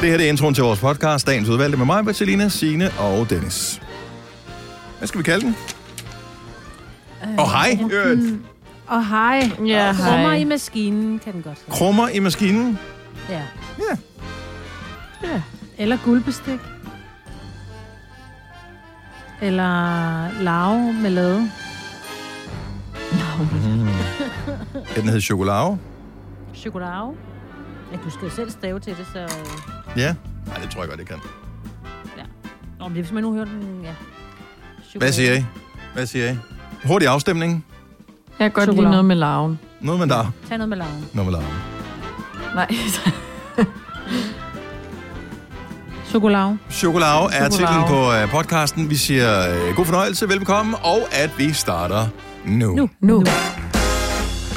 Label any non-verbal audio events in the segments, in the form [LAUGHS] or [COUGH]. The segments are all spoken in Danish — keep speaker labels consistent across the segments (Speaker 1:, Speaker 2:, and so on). Speaker 1: Det her det er introen til vores podcast, dagens udvalgte med mig, Bertilina, Signe og Dennis. Hvad skal vi kalde den?
Speaker 2: Øh,
Speaker 1: Og oh, hej! Mm.
Speaker 2: Og hej.
Speaker 3: Ja,
Speaker 2: Krummer
Speaker 3: hej.
Speaker 2: i maskinen kan den godt hedde.
Speaker 1: Krummer i maskinen.
Speaker 2: Ja.
Speaker 1: Ja.
Speaker 2: ja. Eller guldbestik. Eller larve med lade.
Speaker 1: Ja, den hed Chokolade.
Speaker 2: Chokolade. Ja, du skal jo selv stave til det, så... øh,
Speaker 1: Ja. Nej, det tror jeg godt, det kan.
Speaker 2: Ja. Nå, men det er, hvis man nu hører den... Ja. Chokolade.
Speaker 1: Hvad siger I? Hvad siger I? Hurtig afstemning.
Speaker 3: Jeg kan godt
Speaker 2: Chokolade.
Speaker 3: lide noget med larven.
Speaker 1: Noget med dig.
Speaker 2: Tag noget med larven.
Speaker 1: Noget med dig.
Speaker 3: Nej. [LAUGHS]
Speaker 2: Chokolade.
Speaker 1: Chokolade
Speaker 3: Chokolade.
Speaker 1: er titlen på øh, podcasten. Vi siger øh, god fornøjelse, velbekomme, og at vi starter nu. nu.
Speaker 3: nu.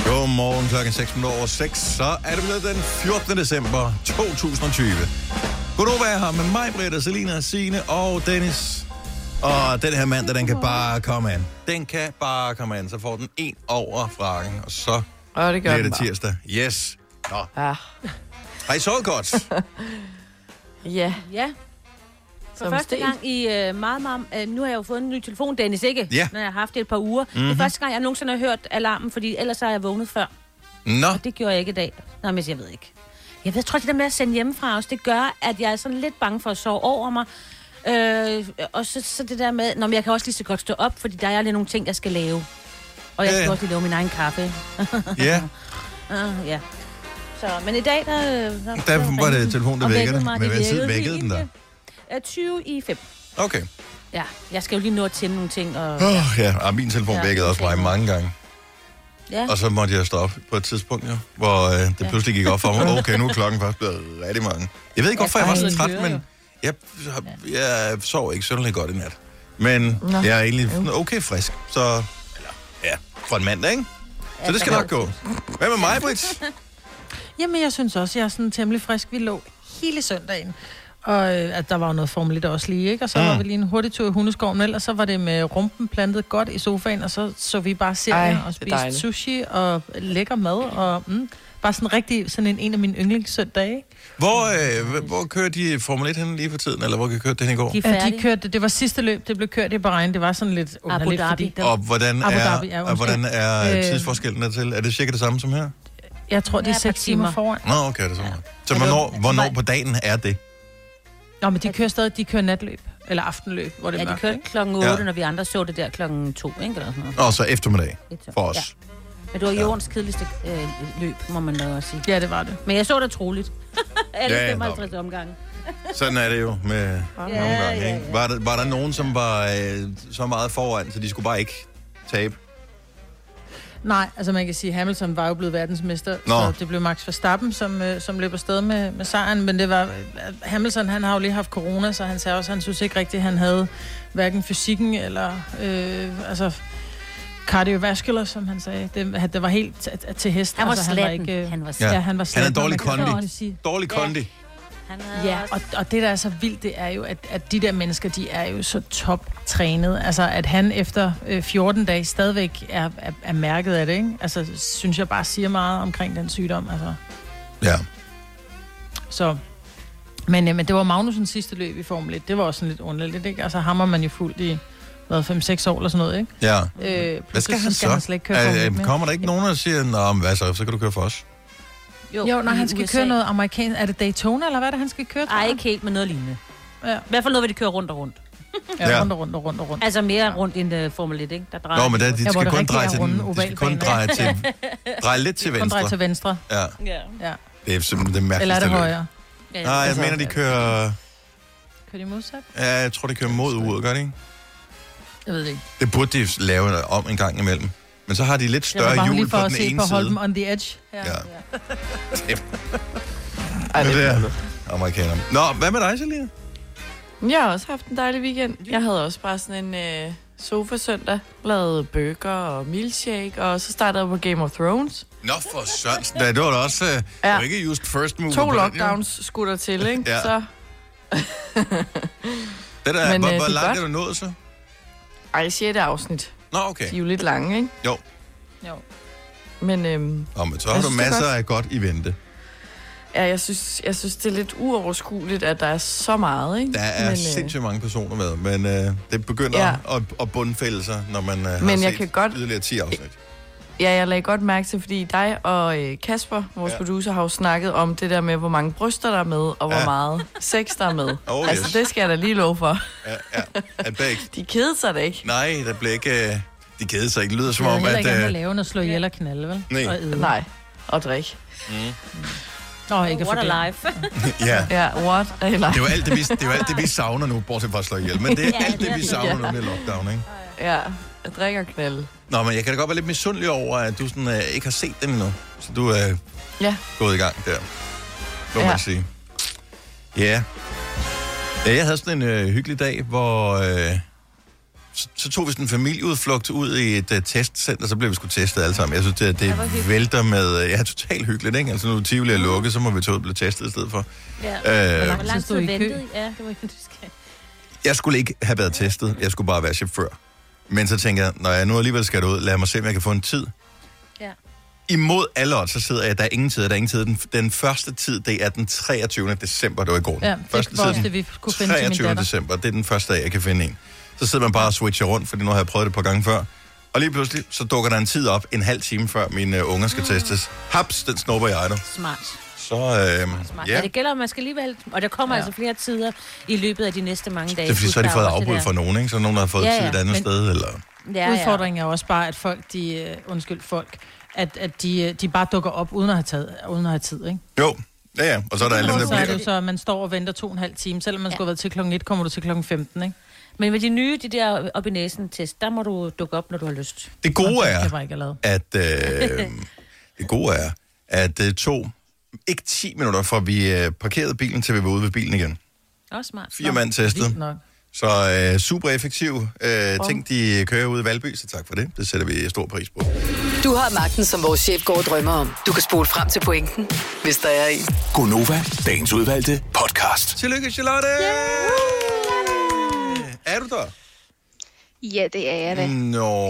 Speaker 1: Godmorgen klokken 6 minutter over 6, så er det blevet den 14. december 2020. Godnova er her med mig, Britta, Selina, Signe og Dennis. Og den her mand, den kan bare komme an. Den kan bare komme an. Så får den en over frakken, og så
Speaker 3: Åh, det gør
Speaker 1: bliver
Speaker 3: den
Speaker 1: det
Speaker 3: bare.
Speaker 1: tirsdag. Yes. Nå,
Speaker 3: Ah.
Speaker 1: har I sovet
Speaker 3: [LAUGHS]
Speaker 1: godt?
Speaker 3: Ja,
Speaker 2: Ja. For
Speaker 3: Som
Speaker 2: første
Speaker 3: stel.
Speaker 2: gang i øh, meget, meget... Øh, nu har jeg jo fået en ny telefon, Dennis, ikke?
Speaker 1: Ja. Mhm.
Speaker 2: Den har jeg haft i et par uger. Mm-hmm. Det er første gang, jeg nogensinde har hørt alarmen, fordi ellers har jeg vågnet før.
Speaker 1: Nå,
Speaker 2: Det gjorde jeg ikke i dag. Nå, men jeg ved ikke. Jeg ved, jeg tror, det der med at sende hjemmefra os, det gør, at jeg er sådan lidt bange for at sove over mig. Øh, og så, så det der med, nå, men jeg kan også lige så godt stå op, fordi der er lige nogle ting, jeg skal lave. Og jeg skal
Speaker 1: Ja.
Speaker 2: øh. også lige lave min egen kaffe. [LAUGHS]
Speaker 1: ja.
Speaker 2: Uh, ja. Så, men i dag, der... øh, Der,
Speaker 1: Der var det telefonen, der
Speaker 2: og
Speaker 1: vækkede dig.
Speaker 2: mig.
Speaker 1: Men
Speaker 2: Det
Speaker 1: hvad tid vækkede
Speaker 2: helt
Speaker 1: den der?
Speaker 2: vildt. Øh, 20 i 5.
Speaker 1: Okay.
Speaker 2: Ja, jeg skal jo lige nå at tænde nogle ting. Og,
Speaker 1: Oh, ja, og min telefon
Speaker 2: Ja.
Speaker 1: vækkede også mig mange gange.
Speaker 2: ja.
Speaker 1: Og så måtte jeg stå op på et tidspunkt, jo, hvor øh, det pludselig gik op for mig. Okay, nu er klokken faktisk blevet rigtig mange. Jeg ved ikke, hvorfor jeg var så
Speaker 2: den
Speaker 1: træt,
Speaker 2: kører
Speaker 1: men
Speaker 2: jo.
Speaker 1: jeg, jeg sov ikke synderligt godt i nat. Men jeg er egentlig sådan okay frisk, så... Eller, ja, for en mandag, ikke? Så det skal nok gå. Hvad med mig, Britt?
Speaker 4: [LAUGHS] Jamen, jeg synes også, jeg er sådan temmelig frisk. Vi lå hele søndagen. Og øh, at der var jo noget Formel 1 også lige, ikke? Og så
Speaker 1: Mm.
Speaker 4: mm. var vi lige en hurtig tur i hundeskoven, og ellers så var det med rumpen plantet godt i sofaen, og så så vi bare serien
Speaker 3: Ej, det
Speaker 4: og
Speaker 3: er
Speaker 4: spiste
Speaker 3: dejligt.
Speaker 4: sushi og lækker mad, og mm, bare sådan rigtig sådan en, en af mine yndlingssøndage, ikke?
Speaker 1: Hvor, øh, hvor kører de Formel 1 henne lige for tiden, eller hvor kørte det hen i går?
Speaker 2: De er
Speaker 4: Ja,
Speaker 2: færdige.
Speaker 4: de kørte, det var sidste løb, det blev kørt i Bahrain, det var sådan lidt underligt,
Speaker 2: Dhabi.
Speaker 4: fordi der,
Speaker 1: Og hvordan
Speaker 4: Abu
Speaker 1: er,
Speaker 4: Dhabi, ja,
Speaker 1: og hvordan er
Speaker 4: undskyld. Øh,
Speaker 1: tidsforskellen dertil? Er det cirka det samme som her?
Speaker 4: jeg tror, det er
Speaker 2: Ja, et par
Speaker 4: seks timer
Speaker 2: timer.
Speaker 4: foran.
Speaker 1: Nå, okay, det er sådan. noget. Så hvornår, hvornår på dagen er det?
Speaker 4: Nå, men de kører stadig, de kører natløb, eller aftenløb, hvor det er
Speaker 2: Ja, de
Speaker 4: mørkt,
Speaker 2: kørte
Speaker 4: ikke?
Speaker 2: klokken 8,
Speaker 1: Ja.
Speaker 2: ja. når vi andre så det der klokken 2, ikke? Eller sådan noget.
Speaker 1: Og så eftermiddag
Speaker 2: Lidt så.
Speaker 1: for os.
Speaker 2: Ja. Men det var jordens kedeligste øh, løb, må man da også sige.
Speaker 4: Ja, det var det.
Speaker 2: Men jeg så det troligt. Alle
Speaker 1: [LAUGHS] Ja,
Speaker 2: ja,
Speaker 1: nå.
Speaker 2: 55 omgange.
Speaker 1: Sådan er det jo med nogle
Speaker 2: ja,
Speaker 1: gange. Ikke? Var, der, var der nogen, som var øh, så meget foran, så de skulle bare ikke tabe?
Speaker 4: Nej, altså man kan sige, at Hamilton var jo blevet verdensmester,
Speaker 1: Nå.
Speaker 4: Nå. så det blev Max Verstappen, som, øh, som løb afsted med, med sejren, men det var, øh, Hamilton han har jo lige haft corona, så han sagde også, at han synes ikke rigtigt, at han havde hverken fysikken eller øh, altså cardiovascular, som han sagde. Det, at det var helt t- t- til hest.
Speaker 2: Han var
Speaker 4: altså,
Speaker 2: slatten.
Speaker 4: øh,
Speaker 2: Han var
Speaker 1: Ja.
Speaker 4: ja, han var
Speaker 1: Han
Speaker 4: slatten.
Speaker 1: er dårlig
Speaker 4: man kan
Speaker 1: kondi.
Speaker 4: godt sige. Øh,
Speaker 1: Dårlig
Speaker 2: Ja.
Speaker 1: kondi.
Speaker 2: Han havde
Speaker 4: Ja,
Speaker 2: også-
Speaker 4: og, og det, der er så vildt, det er jo, at, at de der mennesker, de er jo så toptrænet. Altså, at han efter øh, 14 dage stadigvæk er, er, er mærket af det, ikke? Altså, synes jeg bare siger meget omkring den sygdom, altså.
Speaker 1: Ja.
Speaker 4: Så... Men, øh, men det var Magnusens sidste løb i Formel 1. Det var også sådan lidt underligt, ikke? Altså, hammer man jo fuldt i, hvad, 5-6 år eller sådan noget, ikke?
Speaker 1: ja.
Speaker 4: Øh,
Speaker 1: Hvad skal
Speaker 4: pludselig
Speaker 1: han
Speaker 4: skal han slet
Speaker 1: så?
Speaker 4: ikke køre Formel 1
Speaker 1: øh,
Speaker 4: mere.
Speaker 1: kommer der ikke nogen, der siger, Nå, men hvad så, så kan du køre for os?
Speaker 4: Jo, når
Speaker 2: i
Speaker 4: han skal
Speaker 2: USA.
Speaker 4: køre noget amerikansk... Er det Daytona, eller hvad er det, han skal køre? tror
Speaker 2: Ej,
Speaker 4: jeg?
Speaker 2: ikke helt, men noget lignende.
Speaker 4: Ja.
Speaker 2: I hvert fald noget, hvor de kører rundt og rundt.
Speaker 1: Ja.
Speaker 4: ja, rundt og rundt og rundt og rundt.
Speaker 2: Altså mere rundt end uh, Formel 1, ikke? Der drejer
Speaker 1: Nå, men
Speaker 2: de
Speaker 1: der,
Speaker 2: rundt.
Speaker 1: de
Speaker 4: hvor
Speaker 1: skal
Speaker 4: det
Speaker 1: kun
Speaker 4: rigtig
Speaker 1: dreje,
Speaker 4: er
Speaker 1: til, den-
Speaker 4: runde
Speaker 1: de skal kun
Speaker 4: ovalbaner.
Speaker 1: dreje, til, dreje lidt til
Speaker 4: Kun drej
Speaker 1: venstre.
Speaker 4: til venstre.
Speaker 1: Ja,
Speaker 2: Ja.
Speaker 4: Ja.
Speaker 1: det er simpelthen det mærkeligste.
Speaker 4: Eller er det Altså-
Speaker 1: løb.
Speaker 4: højre?
Speaker 2: Ja,
Speaker 1: Nej, jeg mener, de kører...
Speaker 4: Kører de modsat?
Speaker 1: Ja, jeg tror, de kører mod uret, gør de ikke?
Speaker 4: Jeg ved det ikke.
Speaker 1: Det burde de lave om en gang imellem. Men så har de lidt
Speaker 4: Det var
Speaker 1: større
Speaker 4: bare
Speaker 1: hjul
Speaker 4: lige
Speaker 1: på
Speaker 4: for at
Speaker 1: den
Speaker 4: se
Speaker 1: ene
Speaker 4: på
Speaker 1: side.
Speaker 4: Holmen on the edge.
Speaker 1: Ja.
Speaker 3: Ej,
Speaker 1: Men
Speaker 3: det
Speaker 1: det
Speaker 3: er
Speaker 1: er amerikaner. Nå, hvad med dig, Selina?
Speaker 3: Jeg har også haft en dejlig weekend. Jeg havde også bare sådan en øh, sofa-søndag, lavet burger og milkshake, og så startede jeg på Game of Thrones.
Speaker 1: Nå for sørensen, da, det var da også... Øh, ja.
Speaker 3: Ja.
Speaker 1: ikke just first mover.
Speaker 3: To
Speaker 1: på den, jo.
Speaker 3: lockdowns skulle der til, ikke?
Speaker 1: Ja.
Speaker 3: Så,
Speaker 1: Det der, Men,
Speaker 3: Men,
Speaker 1: hvor,
Speaker 3: øh,
Speaker 1: hvor
Speaker 3: det er
Speaker 1: langt
Speaker 3: godt.
Speaker 1: er du nået så?
Speaker 3: ej, sjette afsnit.
Speaker 1: Nå, okay.
Speaker 3: De er jo lidt lange, ikke?
Speaker 1: Jo.
Speaker 4: Jo.
Speaker 3: Men øhm,
Speaker 1: Nå, men så har
Speaker 3: Jeg
Speaker 1: du
Speaker 3: synes, det er
Speaker 1: masser af godt i vente.
Speaker 3: Ja, jeg synes, jeg synes, det er lidt uoverskueligt, at der er så meget, ikke?
Speaker 1: Der er
Speaker 3: men,
Speaker 1: men,
Speaker 3: øh,
Speaker 1: sindssygt mange personer med, men øh, det begynder ja.
Speaker 3: Ja.
Speaker 1: at, at bundfælde sig, når man øh, har
Speaker 3: Men jeg
Speaker 1: set
Speaker 3: kan godt-
Speaker 1: yderligere 10 afsnit.
Speaker 3: Ja, jeg lagde godt mærke til, fordi dig og øh, Kasper, vores
Speaker 1: Ja.
Speaker 3: ja. producer, har jo snakket om det der med, hvor mange bryster der er med, og hvor
Speaker 1: Ja.
Speaker 3: ja. meget sex der er med.
Speaker 1: [LAUGHS] Oh,
Speaker 3: altså,
Speaker 1: yes.
Speaker 3: det skal jeg da lige love for.
Speaker 1: Ja, ja. At bag,
Speaker 3: [LAUGHS] De kedede sig da ikke.
Speaker 1: nej, der blev ikke... Øh, de kede sig ikke. Det lyder som
Speaker 4: Det er
Speaker 1: om,
Speaker 4: heller
Speaker 1: at...
Speaker 4: ikke andet at
Speaker 1: Øh,
Speaker 4: lave, end at slå ihjel og knalde, vel?
Speaker 1: Nej.
Speaker 4: Og æde.
Speaker 3: Nej, og drik.
Speaker 1: Mm. [LAUGHS]
Speaker 4: Nå, ikke for
Speaker 2: What
Speaker 4: det.
Speaker 2: a life.
Speaker 1: ja.
Speaker 3: Ja, what? Eller,
Speaker 1: Det er, jo alt det, vi, det er jo alt det, vi savner nu, bortset fra at slå ihjel. Men det er
Speaker 2: Ja,
Speaker 1: alt det,
Speaker 2: det
Speaker 1: vi
Speaker 2: er
Speaker 1: savner
Speaker 3: det.
Speaker 1: nu med lockdown, ikke?
Speaker 3: [LAUGHS] ja, at drikke og knalde.
Speaker 1: Nå, men jeg kan da godt være lidt misundelig over, at du sådan, øh, ikke har set den endnu. Så du er øh,
Speaker 3: Ja,
Speaker 1: gået i gang der, må ja.
Speaker 3: Ja.
Speaker 1: man sige. Ja. ja. Jeg havde sådan en øh, hyggelig dag, hvor... Øh, så, så tog vi sådan en familieudflugt ud i et uh, testcenter, så blev vi sgu testet alle sammen. Jeg synes, det, det vælter med... Uh, ja, totalt hyggeligt, ikke? Altså, nu er Tivoli er lukket, så må vi tage ud og blive testet i stedet for.
Speaker 2: Ja.
Speaker 1: Øh,
Speaker 2: Hvor lang
Speaker 4: Så stod
Speaker 2: tid
Speaker 4: I i kø.
Speaker 2: ventede I? Ja, det var ikke, du skal.
Speaker 1: jeg skulle ikke have været testet. Jeg skulle bare være chauffør. Men så tænker jeg, når jeg nu alligevel skal derud, lad mig se, om jeg kan få en tid.
Speaker 2: Ja.
Speaker 1: Imod alle odds, så sidder jeg, der er ingen tid, der er ingen tid. Den, den første tid, det er den 23. december, det var i går.
Speaker 4: Ja,
Speaker 1: første
Speaker 4: det var også
Speaker 1: den
Speaker 4: det, vi kunne finde til min
Speaker 1: 23.
Speaker 4: datter.
Speaker 1: december, det er den første dag, jeg kan finde en. Så sidder man bare og switcher rundt, fordi nu har jeg prøvet det et par gange før. Og lige pludselig, så dukker der en tid op, en halv time før mine uh, unger
Speaker 4: Ah.
Speaker 1: skal testes. Haps, den snupper jeg nu.
Speaker 2: Smart.
Speaker 1: Så, øh,
Speaker 2: Smart.
Speaker 1: ja.
Speaker 2: Ja. Det gælder, om man skal alligevel... Og der kommer ja. altså flere tider i løbet af de næste mange dage.
Speaker 1: Det er fordi, så har de
Speaker 2: Plus,
Speaker 1: fået
Speaker 2: der er også
Speaker 1: afbud
Speaker 2: det
Speaker 1: fra nogen, ikke? Så er der nogen, der har fået
Speaker 2: Ja,
Speaker 1: tid
Speaker 2: ja,
Speaker 1: et andet
Speaker 4: men-
Speaker 1: sted, eller...
Speaker 2: der- Ja, ja.
Speaker 4: Udfordringen er jo også bare, at folk, de, øh, undskyld folk, at, at de, øh, de bare dukker op uden at have, taget, uden at have tid, ikke?
Speaker 1: Jo, ja, ja. Og så er der alle dem,
Speaker 4: Og
Speaker 1: der
Speaker 4: så er det
Speaker 1: bliver...
Speaker 4: jo så, at man står og venter to og en halv time. Selvom man
Speaker 2: Ja.
Speaker 4: ja. skulle have været til klokken 1, kommer du til klokken 15, ikke?
Speaker 2: Men med de nye, de der op i næsen test, der må du dukke op, når du har lyst.
Speaker 1: Det gode
Speaker 4: Det
Speaker 1: er,
Speaker 4: kan bare ikke have lavet.
Speaker 1: at... Øh, det gode er, at øh, to... Ikke 10 minutter, fra vi øh, parkerede bilen, til vi var ude ved bilen igen.
Speaker 2: Også smart.
Speaker 1: Fire mand
Speaker 4: Vildt
Speaker 1: testet.
Speaker 4: nok.
Speaker 1: Så øh, super effektiv øh, ting, de kører ud i Valby, så tak for det. Det sætter vi stor pris på.
Speaker 5: Du har magten, som vores chef går og drømmer om. Du kan spole frem til pointen, hvis der er en.
Speaker 6: Gonova, dagens udvalgte podcast.
Speaker 1: Tillykke, Charlotte! Øh, Er du der?
Speaker 7: Ja, det er jeg da. [LAUGHS] Mm.
Speaker 1: Nå.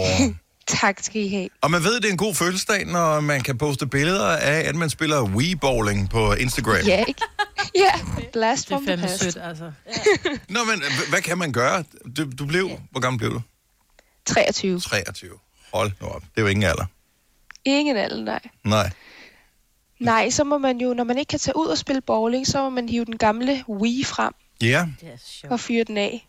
Speaker 7: Tak skal I have.
Speaker 1: Og man ved, det er en god fødselsdag, når man kan poste billeder af, at man spiller Wii-bowling på Instagram.
Speaker 7: Ja, ikke? ja,
Speaker 4: [LAUGHS]
Speaker 7: blast
Speaker 4: Det er
Speaker 7: from the
Speaker 4: fandme
Speaker 7: past.
Speaker 4: sødt, altså.
Speaker 1: Nå, men h- hvad kan man gøre? Du, du blev... Hvor gammel blev du?
Speaker 7: 23.
Speaker 1: 23. Hold nu op. Det er jo ingen alder.
Speaker 7: Ingen alder, nej.
Speaker 1: Nej.
Speaker 7: Nej, så må man jo, når man ikke kan tage ud og spille bowling, så må man hive den gamle Wii frem
Speaker 1: Ja,
Speaker 2: Det er sjovt.
Speaker 7: og fyre den af.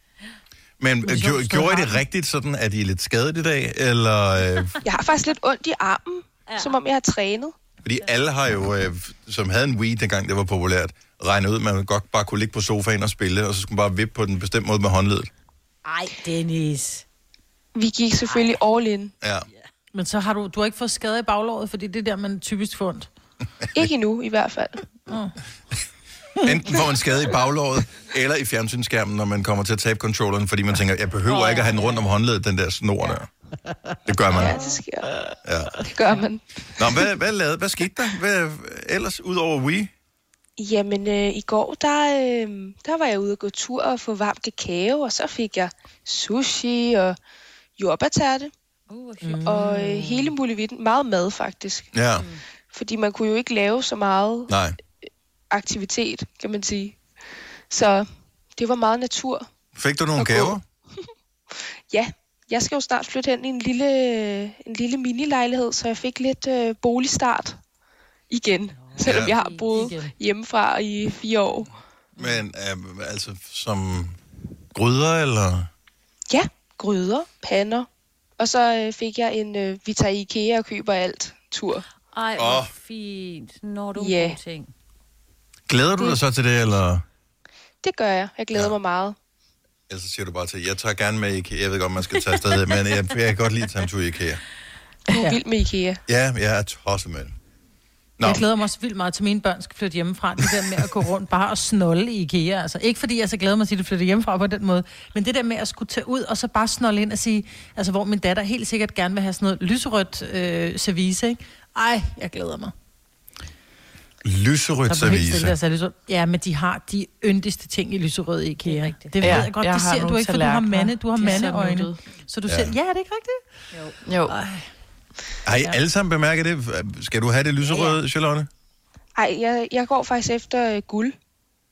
Speaker 1: men øh,
Speaker 4: sjovt
Speaker 1: gjo-
Speaker 4: sted
Speaker 1: gjorde I
Speaker 4: har
Speaker 1: det rigtigt sådan, at I er lidt skadet i dag? Eller, øh,
Speaker 7: Jeg har faktisk lidt ondt i armen, ja. som om jeg har trænet.
Speaker 1: fordi alle har jo, øh, som havde en Wii, dengang det var populært, regnet ud, at man godt bare kunne ligge på sofaen og spille, og så skulle man bare vippe på den bestemt måde med håndledet.
Speaker 2: Ej, Dennis.
Speaker 7: Vi gik selvfølgelig all in.
Speaker 1: Ja.
Speaker 4: Men så har du, du har ikke fået skade i baglåret, fordi det er der, man typisk får ondt.
Speaker 7: Ikke endnu, i hvert fald.
Speaker 1: Enten får man skade i baglåret, eller i fjernsynsskærmen, når man kommer til at tabe controlleren, fordi man tænker, jeg behøver ikke at have den rundt om håndledet, den der snor der. Det gør man.
Speaker 7: Ja, det sker.
Speaker 1: Ja.
Speaker 7: Det gør man.
Speaker 1: Nå, hvad, hvad, lavede, hvad skete der hvad, ellers, udover Wii?
Speaker 7: Jamen, øh, i går, der, øh, der var jeg ude og gå tur og få varm kakao, og så fik jeg sushi og jordbærterte. Mm. Og øh, hele muligheden. Meget mad, faktisk.
Speaker 1: Ja,
Speaker 7: Fordi man kunne jo ikke lave så meget
Speaker 1: nej.
Speaker 7: aktivitet, kan man sige. Så det var meget natur.
Speaker 1: Fik du nogle
Speaker 7: Og gå.
Speaker 1: gaver?
Speaker 7: Ja, jeg skal jo snart flytte hen i en lille, øh, en lille minilejlighed, så jeg fik lidt øh, boligstart igen. Selvom
Speaker 1: Ja.
Speaker 7: jeg har boet hjemmefra i fire år.
Speaker 1: Men øh, altså, som gryder, eller?
Speaker 7: Ja, gryder, pander. Og så øh, fik jeg en, øh, vi tager i IKEA og køber alt tur.
Speaker 2: [LAUGHS] Ej, hvor
Speaker 1: Åh.
Speaker 2: fint. Når du
Speaker 7: Ja.
Speaker 2: yeah. gode ting.
Speaker 1: Glæder du dig så til det, eller?
Speaker 7: Det gør jeg. Jeg glæder ja. mig meget.
Speaker 1: Ellers så siger du bare til, jeg tager gerne med i IKEA. Jeg ved godt, man skal tage [LAUGHS] afsted, men øh, jeg, jeg kan godt lide at tage en tur i IKEA.
Speaker 7: Du er ja. vild med IKEA.
Speaker 1: Ja, jeg er tosset med det. Nå,
Speaker 4: Jeg glæder mig også vildt meget til, at mine børn skal flytte hjemmefra. Det der med at gå rundt bare og snolle i IKEA. Altså, ikke fordi jeg så glæder mig til, at de flytter hjemmefra på den måde. Men det der med at skulle tage ud og så bare snolle ind og sige... Altså, hvor min datter helt sikkert gerne vil have sådan noget lyserødt øh, service, ikke? Ej, jeg glæder mig.
Speaker 1: lyserødt
Speaker 4: Der blev helt stille, altså.
Speaker 1: service.
Speaker 4: jeg sagde lyserød. Ja, men de har de yndigste ting i lyserød i IKEA.
Speaker 2: Det
Speaker 4: Det,
Speaker 2: er
Speaker 4: er
Speaker 2: rigtigt.
Speaker 4: det ved
Speaker 3: Ja,
Speaker 4: jeg godt,
Speaker 3: jeg
Speaker 4: det
Speaker 3: har
Speaker 4: ser du
Speaker 3: nogle
Speaker 4: ikke, for du har
Speaker 3: tallerkener.
Speaker 4: mande, du har
Speaker 3: De er så
Speaker 4: mandeøjne.
Speaker 3: nuttede.
Speaker 4: Så du
Speaker 1: Ja.
Speaker 4: ja. selv, ja, er det ikke rigtigt?
Speaker 3: jo.
Speaker 1: Har I alle sammen bemærket det? Skal du have det lyserøde, Charlotte?
Speaker 7: Ej, jeg, jeg går faktisk efter øh, guld.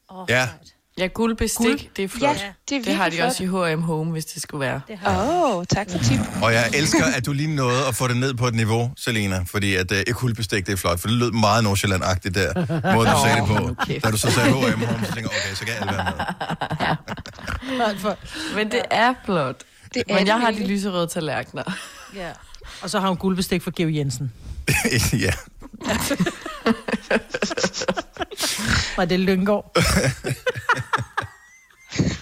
Speaker 2: Oh,
Speaker 1: Ja.
Speaker 3: Ja, guldbestik, guld. det er flot. Ja,
Speaker 7: det er
Speaker 3: det har de
Speaker 7: virkelig
Speaker 3: også i H&M Home, hvis det skulle være.
Speaker 2: Det har jeg.
Speaker 7: Åh, oh, tak for tip.
Speaker 1: Og jeg elsker, at du lige nåede at få det ned på et niveau, Selina, fordi at øh, guldbestik, det er flot, for det lød meget Nordsjælland-agtigt
Speaker 4: [LAUGHS]
Speaker 1: der, måden du sagde det på. Da du så sagde H&M, home, så tænker jeg, okay, så kan alle være med.
Speaker 4: Nej, for,
Speaker 3: Men det er flot.
Speaker 7: Det er
Speaker 3: Men jeg har de
Speaker 7: virkelig.
Speaker 3: lyserøde
Speaker 7: [LAUGHS]
Speaker 3: tallerkener.
Speaker 2: Ja.
Speaker 4: og så har hun guldbestik fra Georg Jensen.
Speaker 1: [LAUGHS] ja.
Speaker 4: [LAUGHS] Var det
Speaker 1: [LAUGHS]
Speaker 4: Lyngård?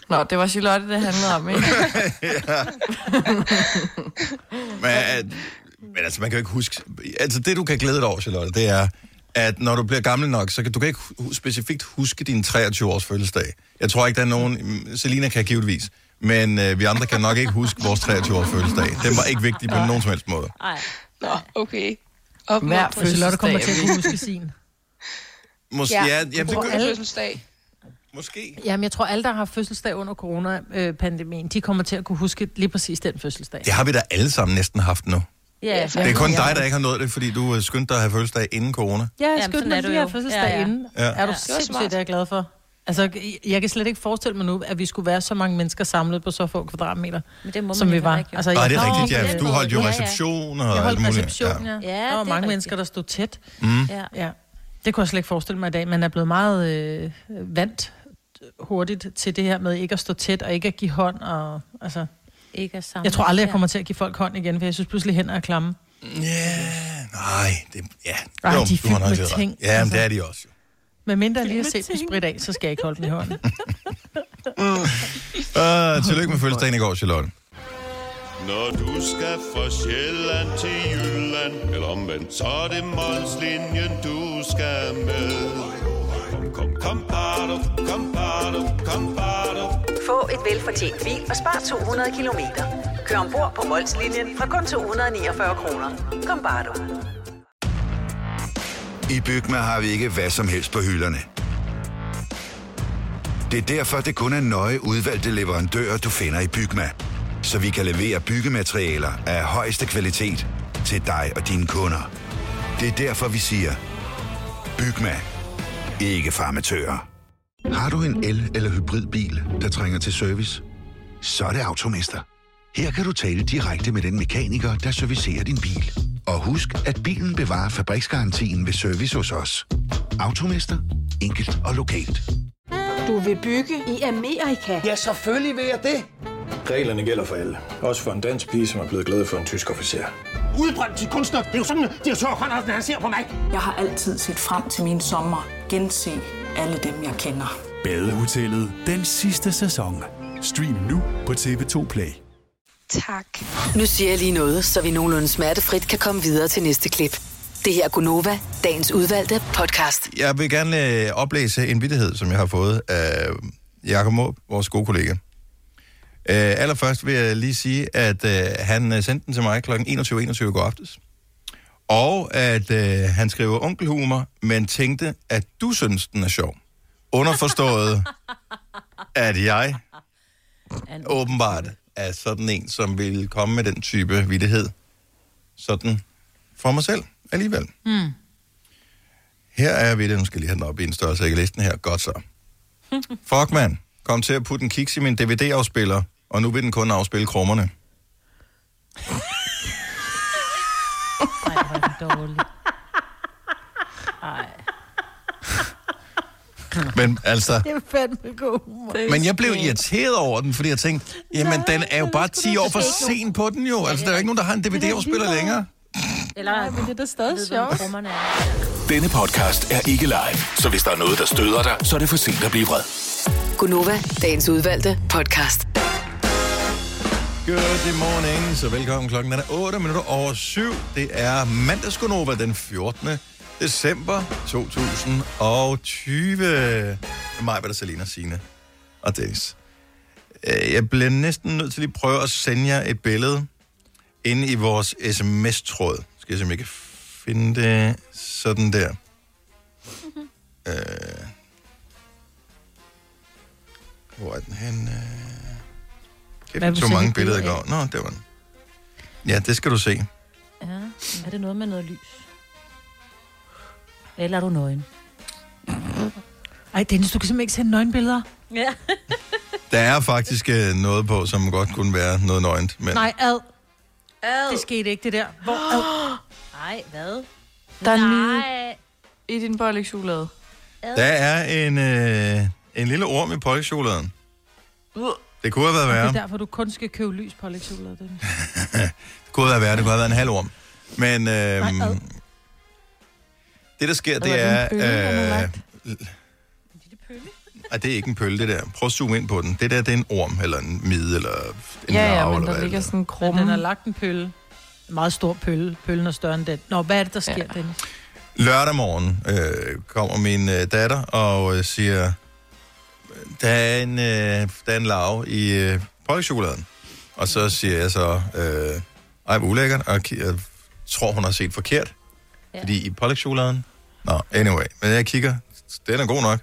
Speaker 3: Nå, det var Charlotte, det handlede om,
Speaker 1: [LAUGHS]
Speaker 3: ikke? [LAUGHS]
Speaker 1: Men, at, men altså, man kan jo ikke huske... Altså, det du kan glæde dig over, Charlotte, det er, at når du bliver gammel nok, så kan du kan ikke hu- specifikt huske din 23-års fødselsdag. Jeg tror ikke, der er nogen... mm, Selina kan givetvis, men øh, vi andre kan nok ikke huske vores 23-års fødselsdag. Den var ikke vigtig på nogen som helst måde.
Speaker 2: Ej.
Speaker 7: Nå, okay. Op
Speaker 3: Hver
Speaker 4: Og Charlotte kommer til at
Speaker 3: fødselsdag.
Speaker 4: kunne huske sin.
Speaker 1: Mås-
Speaker 7: Ja.
Speaker 1: ja. ja, jamen, det,
Speaker 7: På
Speaker 1: gør-
Speaker 7: fødselsdag.
Speaker 1: måske.
Speaker 4: Jamen, jeg tror, alle, der har fødselsdag under coronapandemien, de kommer til at kunne huske lige præcis den fødselsdag.
Speaker 1: Det har vi da alle sammen næsten haft nu.
Speaker 2: Ja,
Speaker 1: Det er kun dig, der ikke har nået det, fordi du øh, skyndte dig at have fødselsdag inden corona.
Speaker 4: Ja, jeg
Speaker 2: Jamen,
Speaker 4: skønt,
Speaker 2: sådan er
Speaker 4: når
Speaker 2: du
Speaker 4: vi har
Speaker 2: jo.
Speaker 4: fødselsdag
Speaker 2: Ja,
Speaker 4: ja,
Speaker 2: ja.
Speaker 4: ja. inden.
Speaker 1: Ja.
Speaker 4: Er du
Speaker 2: Ja.
Speaker 4: sindssygt,
Speaker 7: smart.
Speaker 4: det er jeg glad for. Altså, jeg- jeg kan slet ikke forestille mig nu, at vi skulle være så mange mennesker samlet på så få kvadratmeter,
Speaker 2: men det må man
Speaker 4: som vi
Speaker 2: heller
Speaker 4: var.
Speaker 2: ikke, jo.
Speaker 4: Altså,
Speaker 1: Nej,
Speaker 4: jeg-
Speaker 1: det er
Speaker 4: Nå,
Speaker 1: rigtigt,
Speaker 4: på
Speaker 1: ja.
Speaker 4: den
Speaker 1: Du
Speaker 4: måde.
Speaker 1: holdt jo
Speaker 2: Ja, ja.
Speaker 1: reception og
Speaker 4: Jeg
Speaker 1: alt
Speaker 4: holdt
Speaker 1: muligt. Mm.
Speaker 4: reception, ja. ja.
Speaker 2: Ja,
Speaker 4: Der var
Speaker 2: det er
Speaker 4: mange
Speaker 2: rigtigt.
Speaker 4: mennesker, der stod tæt.
Speaker 2: ja.
Speaker 4: Ja. Det kunne jeg slet ikke forestille mig i dag. Man er blevet meget øh, vant hurtigt til det her med ikke at stå tæt og ikke at give hånd. Og, altså,
Speaker 2: Ikke at samle.
Speaker 4: jeg tror aldrig, jeg kommer til at give folk hånd igen, for jeg synes pludselig hænder er klamme.
Speaker 1: Ja, nej. Det, ja.
Speaker 4: Ej, de er
Speaker 1: du har
Speaker 4: fyldt
Speaker 1: nok
Speaker 4: med
Speaker 1: ret.
Speaker 4: ting,
Speaker 1: Ja, men
Speaker 4: altså.
Speaker 1: det er de
Speaker 4: [LAUGHS]
Speaker 1: også. jo.
Speaker 4: Men mindre jeg lige har set på sprit af, så skal jeg ikke holde den i
Speaker 1: [LAUGHS]
Speaker 4: hånden.
Speaker 2: Mm.
Speaker 1: Uh, tillykke med fødselsdagen i går, Charlotte.
Speaker 8: Når du skal fra Sjælland til Jylland Eller omvendt, så er det Molslinjen, du skal med Kom, kom, kom, bado, kom, bado, kom, bado.
Speaker 9: Få et velfortjent bil og spar 200 kilometer. Kør ombord på Molslinjen fra kun 249 kroner. Kom bare du.
Speaker 10: I Bygma har vi ikke hvad som helst på hylderne. Det er derfor, det kun er nøje udvalgte leverandører, du finder i Bygma. Så vi kan levere byggematerialer af højeste kvalitet til dig og dine kunder. Det er derfor, vi siger, Bygma. Ikke farmatører. Har du en el- eller hybridbil, der trænger til service? Så er det Automester. Her kan du tale direkte med den mekaniker, der servicerer din bil. Og husk, at bilen bevarer fabriksgarantien ved service hos os. Automester. Enkelt og lokalt.
Speaker 9: Du vil bygge i Amerika?
Speaker 6: Ja, selvfølgelig vil jeg det. Reglerne gælder for alle. Også for en dansk pige, som er blevet glad for en tysk officer.
Speaker 11: Udbrændt til kunstner. Det er jo sådan, at de har han ser på mig.
Speaker 9: Jeg har altid set frem til min sommer. Gense alle dem, jeg kender.
Speaker 6: Badehotellet. Den sidste sæson. Stream nu på TV2 Play.
Speaker 7: Tak.
Speaker 5: Nu siger jeg lige noget, så vi nogenlunde smertefrit kan komme videre til næste klip. Det her er Gunova, dagens udvalgte podcast.
Speaker 1: Jeg vil gerne øh, oplæse en vittighed, som jeg har fået af Jakob Måb, vores gode kollega. Øh, allerførst vil jeg lige sige, at øh, han øh, sendte den til mig kl. 21.21 i går aftes. Og at øh, han skriver onkelhumor, men tænkte, at du synes, den er sjov. Underforstået, at jeg åbenbart er sådan en, som vil komme med den type vittighed. Sådan for mig selv alligevel. Mm. Her er vi det. Nu skal jeg lige have den op i en størrelse. Jeg kan læse den her. Godt så. Fuck, mand. Kom til at putte en kiks i min DVD-afspiller, og nu vil den kun afspille krummerne.
Speaker 2: Nej, hvor er det dårligt.
Speaker 1: Men
Speaker 4: [LAUGHS]
Speaker 1: altså...
Speaker 4: Det er fandme god humor.
Speaker 1: Men jeg blev irriteret over den, fordi jeg tænkte, jamen den er jo bare 10 år for sen på den jo. Altså, der er jo ikke nogen, der har en DVD-afspiller længere.
Speaker 2: Eller, Nej, men det er da stadig sjovt. Rummerne er.
Speaker 6: Denne podcast er ikke live, så hvis der er noget, der støder dig, så er det for sent at blive vred.
Speaker 5: Gunova, dagens udvalgte podcast.
Speaker 1: Good morning, så velkommen. Klokken er 8 minutter over 7. Det er mandagskonova den 14. december 2020. Med mig, der Selina, Signe og Dennis. Øh, Jeg bliver næsten nødt til lige at prøve at sende jer et billede inde i vores sms-tråd. Skal jeg se, om jeg kan finde det sådan der. Øh. Hvor er den henne? Kæft,
Speaker 4: Hvad
Speaker 1: jeg
Speaker 4: vil
Speaker 1: tog
Speaker 4: du
Speaker 1: mange
Speaker 4: sætte et
Speaker 1: billeder i
Speaker 4: billede
Speaker 1: går. Nå, der var den. Ja, det skal du se.
Speaker 2: Ja. Er det noget med noget lys? Eller er du nøgen?
Speaker 4: Ej, Dennis, du kan simpelthen ikke sende nøgenbilleder.
Speaker 2: Ja.
Speaker 1: Der er faktisk øh, noget på, som godt kunne være noget nøgent. Men...
Speaker 4: Nej, ad. ad. Det skete ikke, det der. Hvor
Speaker 2: [GASPS]
Speaker 4: ad?
Speaker 2: Nej, hvad?
Speaker 3: Der er Nej. i din bollekchokolade.
Speaker 1: Der er en, øh, en lille orm i pålægtschokoladen. Det kunne have været værre.
Speaker 4: Det er derfor, du kun skal købe lys på Alexola, Dennis.
Speaker 1: Det kunne have været værre. Det kunne have været en halv orm. Men øh,
Speaker 4: ad.
Speaker 1: det, der sker, det
Speaker 4: Eller
Speaker 1: er...
Speaker 4: den bølge, han har
Speaker 1: Øh,
Speaker 4: lagt.
Speaker 1: Ej, det er ikke en pøl, det der. Prøv at zoome ind på den. Det der, det er en orm, eller en mide, eller en
Speaker 4: Ja, ja,
Speaker 1: larve,
Speaker 4: men
Speaker 1: eller
Speaker 4: der
Speaker 1: hvad det
Speaker 4: ligger
Speaker 1: er.
Speaker 4: sådan en krumme. Men den har lagt en pølle. En meget stor pølle. Pøllen er større end den. Nå, hvad er det, der sker, ja. Dennis?
Speaker 1: Lørdag morgen øh, kommer min øh, datter og øh, siger, der er en, øh, der er en lav i øh, pålægtschokoladen. Og så siger jeg så, øh, ej, hvor ulækkert, og ki- jeg tror, hun har set forkert. Ja. Fordi i pålægtschokoladen... Nå, anyway. Men jeg kigger, den er god nok.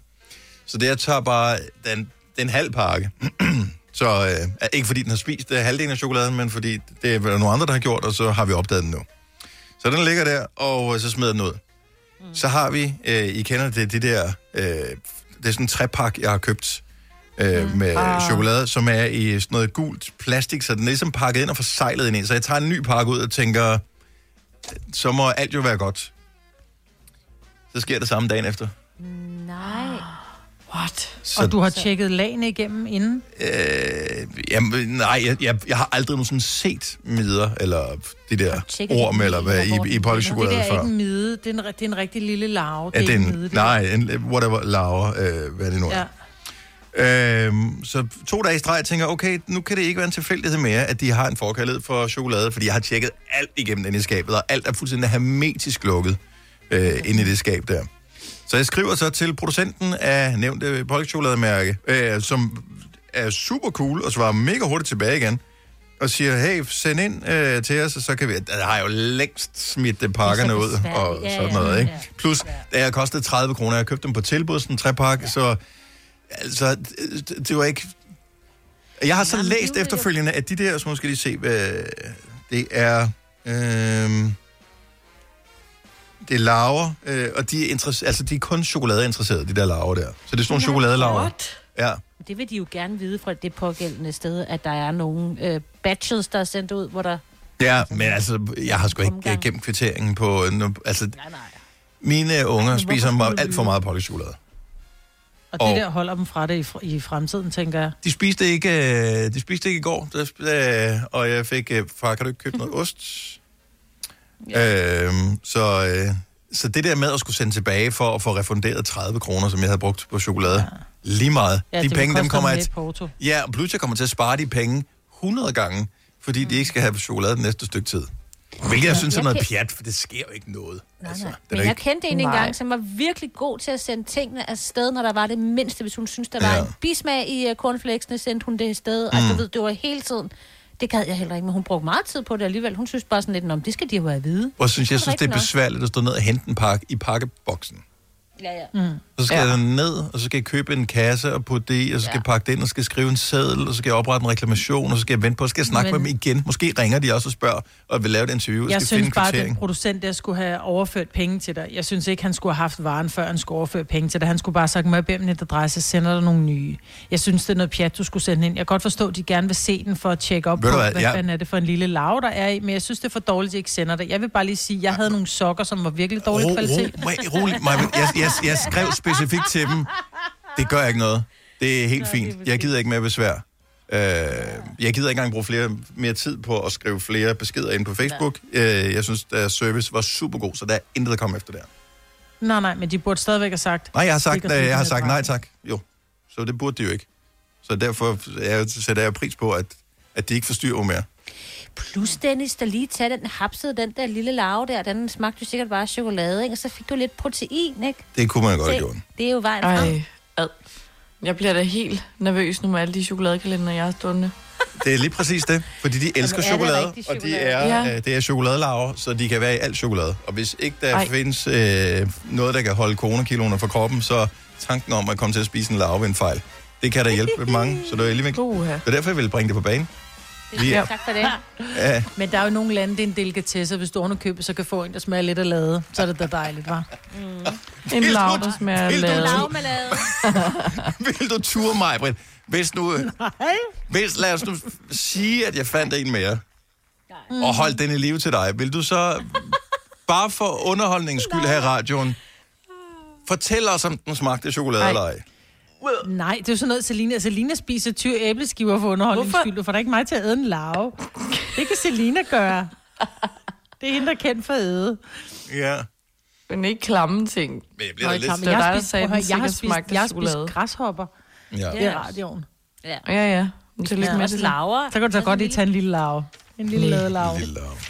Speaker 1: Så det, jeg tager bare den, den halv pakke. [CLEARS THROAT] så øh, ikke fordi den har spist øh, halvdelen af chokoladen, men fordi det er nogle andre, der har gjort, og så har vi opdaget den nu. Så den ligger der, og øh, så smider jeg den ud. Mm. Så har vi, øh, I kender det, det der, øh, det er sådan en træpak, jeg har købt øh,
Speaker 4: Mhm.
Speaker 1: med
Speaker 12: Ah.
Speaker 1: ah. chokolade, som er i sådan noget gult plastik, så den er ligesom pakket ind og forseglet ind i. Så jeg tager en ny pakke ud og tænker, så må alt jo være godt. Så sker det samme dagen efter.
Speaker 2: Nej.
Speaker 4: What?
Speaker 1: Så-
Speaker 4: Og du har tjekket lagene igennem inden?
Speaker 1: Øh, jamen, nej, jeg, jeg, jeg har aldrig nogensinde set midder, eller de der
Speaker 4: Tjekket
Speaker 1: orm,
Speaker 4: den
Speaker 1: eller hvad,
Speaker 4: hvor
Speaker 1: i, i
Speaker 4: den
Speaker 1: pollechokolade
Speaker 4: ligger. Det der er
Speaker 1: før.
Speaker 4: ikke en mide. Det er en, ri- det er en rigtig lille larve.
Speaker 1: Ja, det er
Speaker 4: ikke en mide.
Speaker 1: en, nej, en, whatever, laver, øh, hvad det nu er.
Speaker 4: Ja.
Speaker 1: Øhm, så to dage i streg tænker, okay, nu kan det ikke være en tilfældighed mere, at de har en forkærlighed for chokolade, fordi jeg har tjekket alt igennem den i skabet, og alt er fuldstændig hermetisk lukket øh, inde i det skab der. Så jeg skriver så til producenten af nævnte polkchokolademærke, øh, som er super cool og svarer mega hurtigt tilbage igen, og siger, hey, send ind øh, til os, og så kan vi... Der har jeg jo længst smidt øh, pakkerne
Speaker 12: Det er så
Speaker 1: ud og
Speaker 12: besværligt. Ja,
Speaker 1: sådan
Speaker 12: ja,
Speaker 1: noget, ikke?
Speaker 12: ja.
Speaker 1: Plus, det har kostet 30 kroner. Jeg købte dem på tilbud, sådan en trepakke, så... Altså, det, det var ikke... Jeg har så
Speaker 12: Jamen, det er
Speaker 1: læst
Speaker 12: jo-
Speaker 1: efterfølgende, at de der, så måske lige se, hvad det er... Øh, det er laver, øh, og de er, interesse- altså, de er kun chokoladeinteresserede, de der laver der. Så det er sådan
Speaker 2: Nå,
Speaker 1: nogle chokoladelaver.
Speaker 2: what?
Speaker 1: Ja.
Speaker 2: Det vil de jo gerne vide fra det pågældende sted, at der er nogle øh, batches, der er sendt ud, hvor der...
Speaker 1: Ja, men altså, jeg har sgu ikke øh, gemt kvitteringen på... øh, nu- Altså, mine øh,
Speaker 12: Altså,
Speaker 1: unger spiser meget, alt for meget pokkechokolade.
Speaker 4: Og det
Speaker 1: Og-
Speaker 4: der holder dem fra det i, fr- i fremtiden, tænker jeg.
Speaker 1: De spiste ikke, øh, de spiste ikke i går, der, øh, og jeg fik, øh, far, kan du ikke købe noget ost? Øhm, så, øh, så det der med at skulle sende tilbage for at få refunderet 30 kroner, som jeg havde brugt på chokolade, ja. lige meget.
Speaker 4: Ja,
Speaker 1: de
Speaker 4: det
Speaker 1: penge,
Speaker 4: koster
Speaker 1: dem kommer
Speaker 4: dem
Speaker 1: at...
Speaker 4: lidt porto.
Speaker 1: Ja, og pludselig kommer jeg til at spare de penge 100 gange, fordi de ikke skal have chokolade det næste stykke tid. Hvilket jeg
Speaker 2: Ja,
Speaker 1: synes er
Speaker 2: jeg
Speaker 1: noget
Speaker 2: kan-
Speaker 1: pjat, for det sker jo ikke noget.
Speaker 2: Nej, nej.
Speaker 1: Altså, er
Speaker 2: Men
Speaker 1: ikke-
Speaker 2: jeg kendte en
Speaker 1: Nej.
Speaker 2: engang, som var virkelig god til at sende tingene afsted, når der var det mindste. Hvis hun syntes, der var
Speaker 1: Ja.
Speaker 2: en bismag i uh, cornflakesene, sendte hun det afsted. Og
Speaker 1: Mm.
Speaker 2: du ved, det var hele tiden. Det gad jeg heller ikke, men hun brugte meget tid på det alligevel. Hun synes bare sådan lidt, om det skal de jo have at vide.
Speaker 1: Og synes, jeg synes, det er
Speaker 2: rigtigt nok.
Speaker 1: besværligt at stå ned og hente en pakke i pakkeboksen.
Speaker 2: Ja, ja. Mm.
Speaker 1: Så skal ja. jeg ned, og så skal jeg købe en kasse og putte det i, og så skal jeg pakke det ind, og så skal jeg skrive en seddel, og så skal jeg oprette en reklamation, og så skal jeg vente på, og så skal jeg snakke
Speaker 4: Men-
Speaker 1: med dem igen. Måske ringer de også og spørger, og vil lave et interview, og
Speaker 4: Jeg
Speaker 1: skal finde
Speaker 4: synes
Speaker 1: en
Speaker 4: bare, at den
Speaker 1: kvittering.
Speaker 4: producent der skulle have overført penge til dig. Jeg synes ikke, han skulle have haft varen, før han skulle overføre penge til dig. Han skulle bare have sagt, må jeg bede om et adresse, sender dig nogle nye. Jeg synes, det er noget pjat, du skulle sende ind. Jeg kan godt forstå, at de gerne vil se den for at tjekke op
Speaker 1: Ved
Speaker 4: på,
Speaker 1: du hvad,
Speaker 4: hvad, hvad
Speaker 1: jeg-
Speaker 4: fanden er det for en lille lav, der er i. Men jeg synes, det er for dårligt, at de ikke sender det. Jeg vil bare lige sige, at jeg havde nogle sokker, som var virkelig dårlig
Speaker 1: Ro-
Speaker 4: kvalitet.
Speaker 1: ro- Maja, rolig, Maja. Jeg, jeg, jeg skrev specifikt til dem, det gør ikke noget. Det er helt fint. Jeg gider ikke mere besvær. Øh, jeg gider ikke engang bruge flere, mere tid på at skrive flere beskeder ind på Facebook. Øh, jeg synes, deres service var super god, så der er intet at komme efter der.
Speaker 4: Nej, nej, men de burde stadigvæk have sagt...
Speaker 1: Nej, jeg har sagt, øh,
Speaker 4: "Stik os lige
Speaker 1: jeg har
Speaker 4: den
Speaker 1: sagt
Speaker 4: adresse."
Speaker 1: nej tak. Jo, så det burde de jo ikke. Så derfor er jeg, sætter jeg pris på, at, at de ikke forstyrrer mig mere.
Speaker 2: Plus Dennis, der lige tager den hapsede, den der lille larve der, den smagte jo sikkert bare af chokolade, ikke? Og så fik du lidt protein, ikke?
Speaker 1: Det kunne man godt have
Speaker 2: Se,
Speaker 1: gjort.
Speaker 2: Det er jo vejen frem.
Speaker 3: Ej, ad. Jeg bliver da helt nervøs nu med alle de chokoladekalender, jeg har
Speaker 2: Mm.
Speaker 3: stående.
Speaker 1: Det er lige præcis det, fordi de elsker
Speaker 3: er det
Speaker 1: chokolade,
Speaker 3: rigtig
Speaker 1: og de
Speaker 3: chokolade?
Speaker 1: er,
Speaker 3: Ja.
Speaker 1: ja. øh, det er chokoladelaver, så de kan være i alt chokolade. Og hvis ikke der
Speaker 3: Ej.
Speaker 1: Ej. findes øh, noget, der kan holde coronakiloene fra kroppen, så tanken om at komme
Speaker 3: [LAUGHS]
Speaker 1: til at spise en larve er en fejl. Det kan da hjælpe mange, så det er alligevel...
Speaker 3: Det
Speaker 1: er derfor, jeg vil bringe det på banen.
Speaker 2: Det er
Speaker 1: Vi-
Speaker 2: Tak for det.
Speaker 1: [LAUGHS] Ja.
Speaker 4: [LAUGHS] Men der er jo nogle lande, det er en delikatesse, og hvis du købet, så kan få en, der smager lidt af lade. Så er det da dejligt, var.
Speaker 1: [LAUGHS]
Speaker 4: Mm.
Speaker 3: En lav, der smager af lade.
Speaker 2: med lade.
Speaker 1: Vil du ture mig, Britt? Hvis nu...
Speaker 3: [LAUGHS]
Speaker 1: øh, Hvis, lad os nu sige, at jeg fandt en mere. Mm. Og holdt den i live til dig. Vil du så, bare for underholdningens skyld her i radioen, fortæl os, om den smagte chokolade eller ej?
Speaker 4: Nej, det er jo sådan noget, Selina. altså, Selina spiser 20 æbleskiver for underholdningens skyld. Du får da ikke mig til at æde en larve. Det kan Selina gøre. Det er hende, der er kendt for at æde.
Speaker 1: Ja.
Speaker 3: Men ikke klamme ting.
Speaker 1: Men jeg
Speaker 3: bliver da lidt-
Speaker 4: jeg,
Speaker 3: Det var
Speaker 4: har
Speaker 3: dig, der
Speaker 4: spist,
Speaker 3: sagde,
Speaker 4: prøv at høre,
Speaker 3: den
Speaker 4: jeg har
Speaker 3: sikkert
Speaker 4: spist,
Speaker 3: smagte
Speaker 4: jeg har
Speaker 3: af chokolade.
Speaker 4: spist græshopper
Speaker 1: Ja.
Speaker 4: i radioen.
Speaker 2: Ja,
Speaker 3: Ja, ja. Men Det er lidt
Speaker 4: Ja,
Speaker 3: mere
Speaker 4: også
Speaker 3: det.
Speaker 2: laver.
Speaker 4: Så kan du så godt lige tage en lille larve. En lille
Speaker 3: Næh,
Speaker 4: lade larve.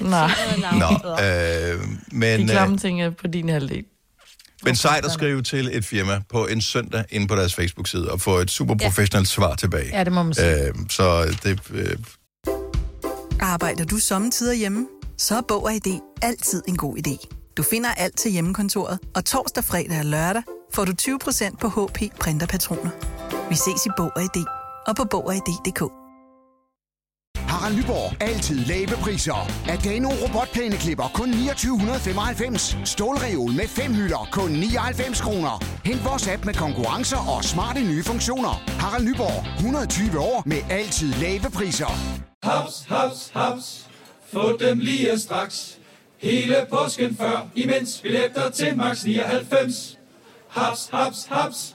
Speaker 3: Nej.
Speaker 1: Nå, øh,
Speaker 3: De
Speaker 1: men, øh,
Speaker 3: klamme ting er på din halvdel.
Speaker 1: men sejt at skrive til et firma på en søndag inde på deres Facebook-side og få et super professionelt svar tilbage.
Speaker 4: Ja, det må man sige.
Speaker 1: Øh, så det, øh,
Speaker 12: Arbejder du sommetider hjemme? Så er Bog og ID altid en god idé. Du finder alt til hjemmekontoret, og torsdag, fredag og lørdag får du 20% på HP printerpatroner. Vi ses i Bog og ID og på Bog og ID.dk.
Speaker 13: Harald Nyborg. Altid lave priser. Adano robotplæneklipper kun 2995. Stålreol med fem hylder kun 99 kroner. Hent vores app med konkurrencer og smarte nye funktioner. Harald Nyborg. 120 år med altid lave priser.
Speaker 14: Haps, haps, haps. Få dem lige straks. Hele påsken før, imens vi læfter til max 99. Haps, haps, haps.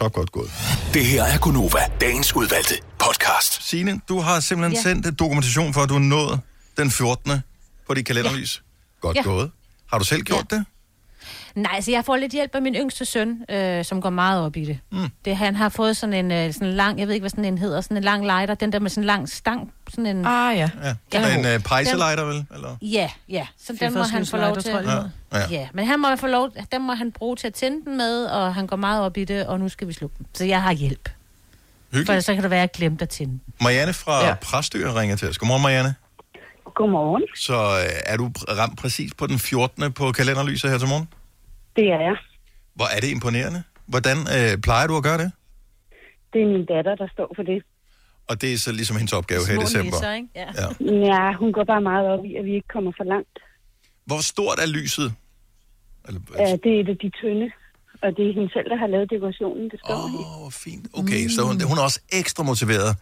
Speaker 1: tak godt gået.
Speaker 15: Det her er Gunova, dagens udvalgte podcast.
Speaker 1: Signe, du har simpelthen
Speaker 15: Ja.
Speaker 1: ja. sendt et dokumentation for, at du er nået den 14. på dit kalenderlys. Ja. Godt
Speaker 2: Ja.
Speaker 1: ja. gået. Har du selv gjort ja. det?
Speaker 2: Nej, altså jeg får lidt hjælp af min yngste søn, øh, som går meget op i det. Mm. det. Han har fået sådan en øh, sådan en lang, jeg ved ikke, hvad sådan en hedder, sådan en lang lighter, den der med sådan en lang stang. Sådan en,
Speaker 3: ah, ja.
Speaker 1: Ja. ja. En øh, pejselighter, vel? Eller?
Speaker 2: Ja, ja. Så den må han få lov
Speaker 4: Fyrfadslyslighter,
Speaker 2: til.
Speaker 4: tror jeg,
Speaker 1: Ja. Ja.
Speaker 2: Ja, men han må få lov, den må han bruge til at tænde den med, og han går meget op i det, og nu skal vi slukke den. Så jeg har hjælp. For
Speaker 1: Hyggeligt.
Speaker 2: så kan det være, at jeg glemte at tænde den.
Speaker 1: Marianne fra ja. Præstø ringer til os. Godmorgen, Marianne.
Speaker 16: Godmorgen.
Speaker 1: Så øh, er du pr- ramt præcis på den 14. på kalenderlyset her til morgen?
Speaker 16: Det er jeg.
Speaker 1: Hvor er det imponerende. Hvordan øh, plejer du at gøre det?
Speaker 16: Det er min datter, der står for det.
Speaker 1: Og det er så ligesom hendes opgave her i december.
Speaker 16: ikke? Ja.
Speaker 1: Ja.
Speaker 16: ja, hun går bare meget op i, at vi ikke kommer for langt.
Speaker 1: Hvor stort er lyset?
Speaker 16: Ja, det er et af de tynde, og det er hende selv, der har lavet dekorationen, det står Åh,
Speaker 1: oh, hvor fint. Okay, mm. så hun, hun er også ekstra motiveret.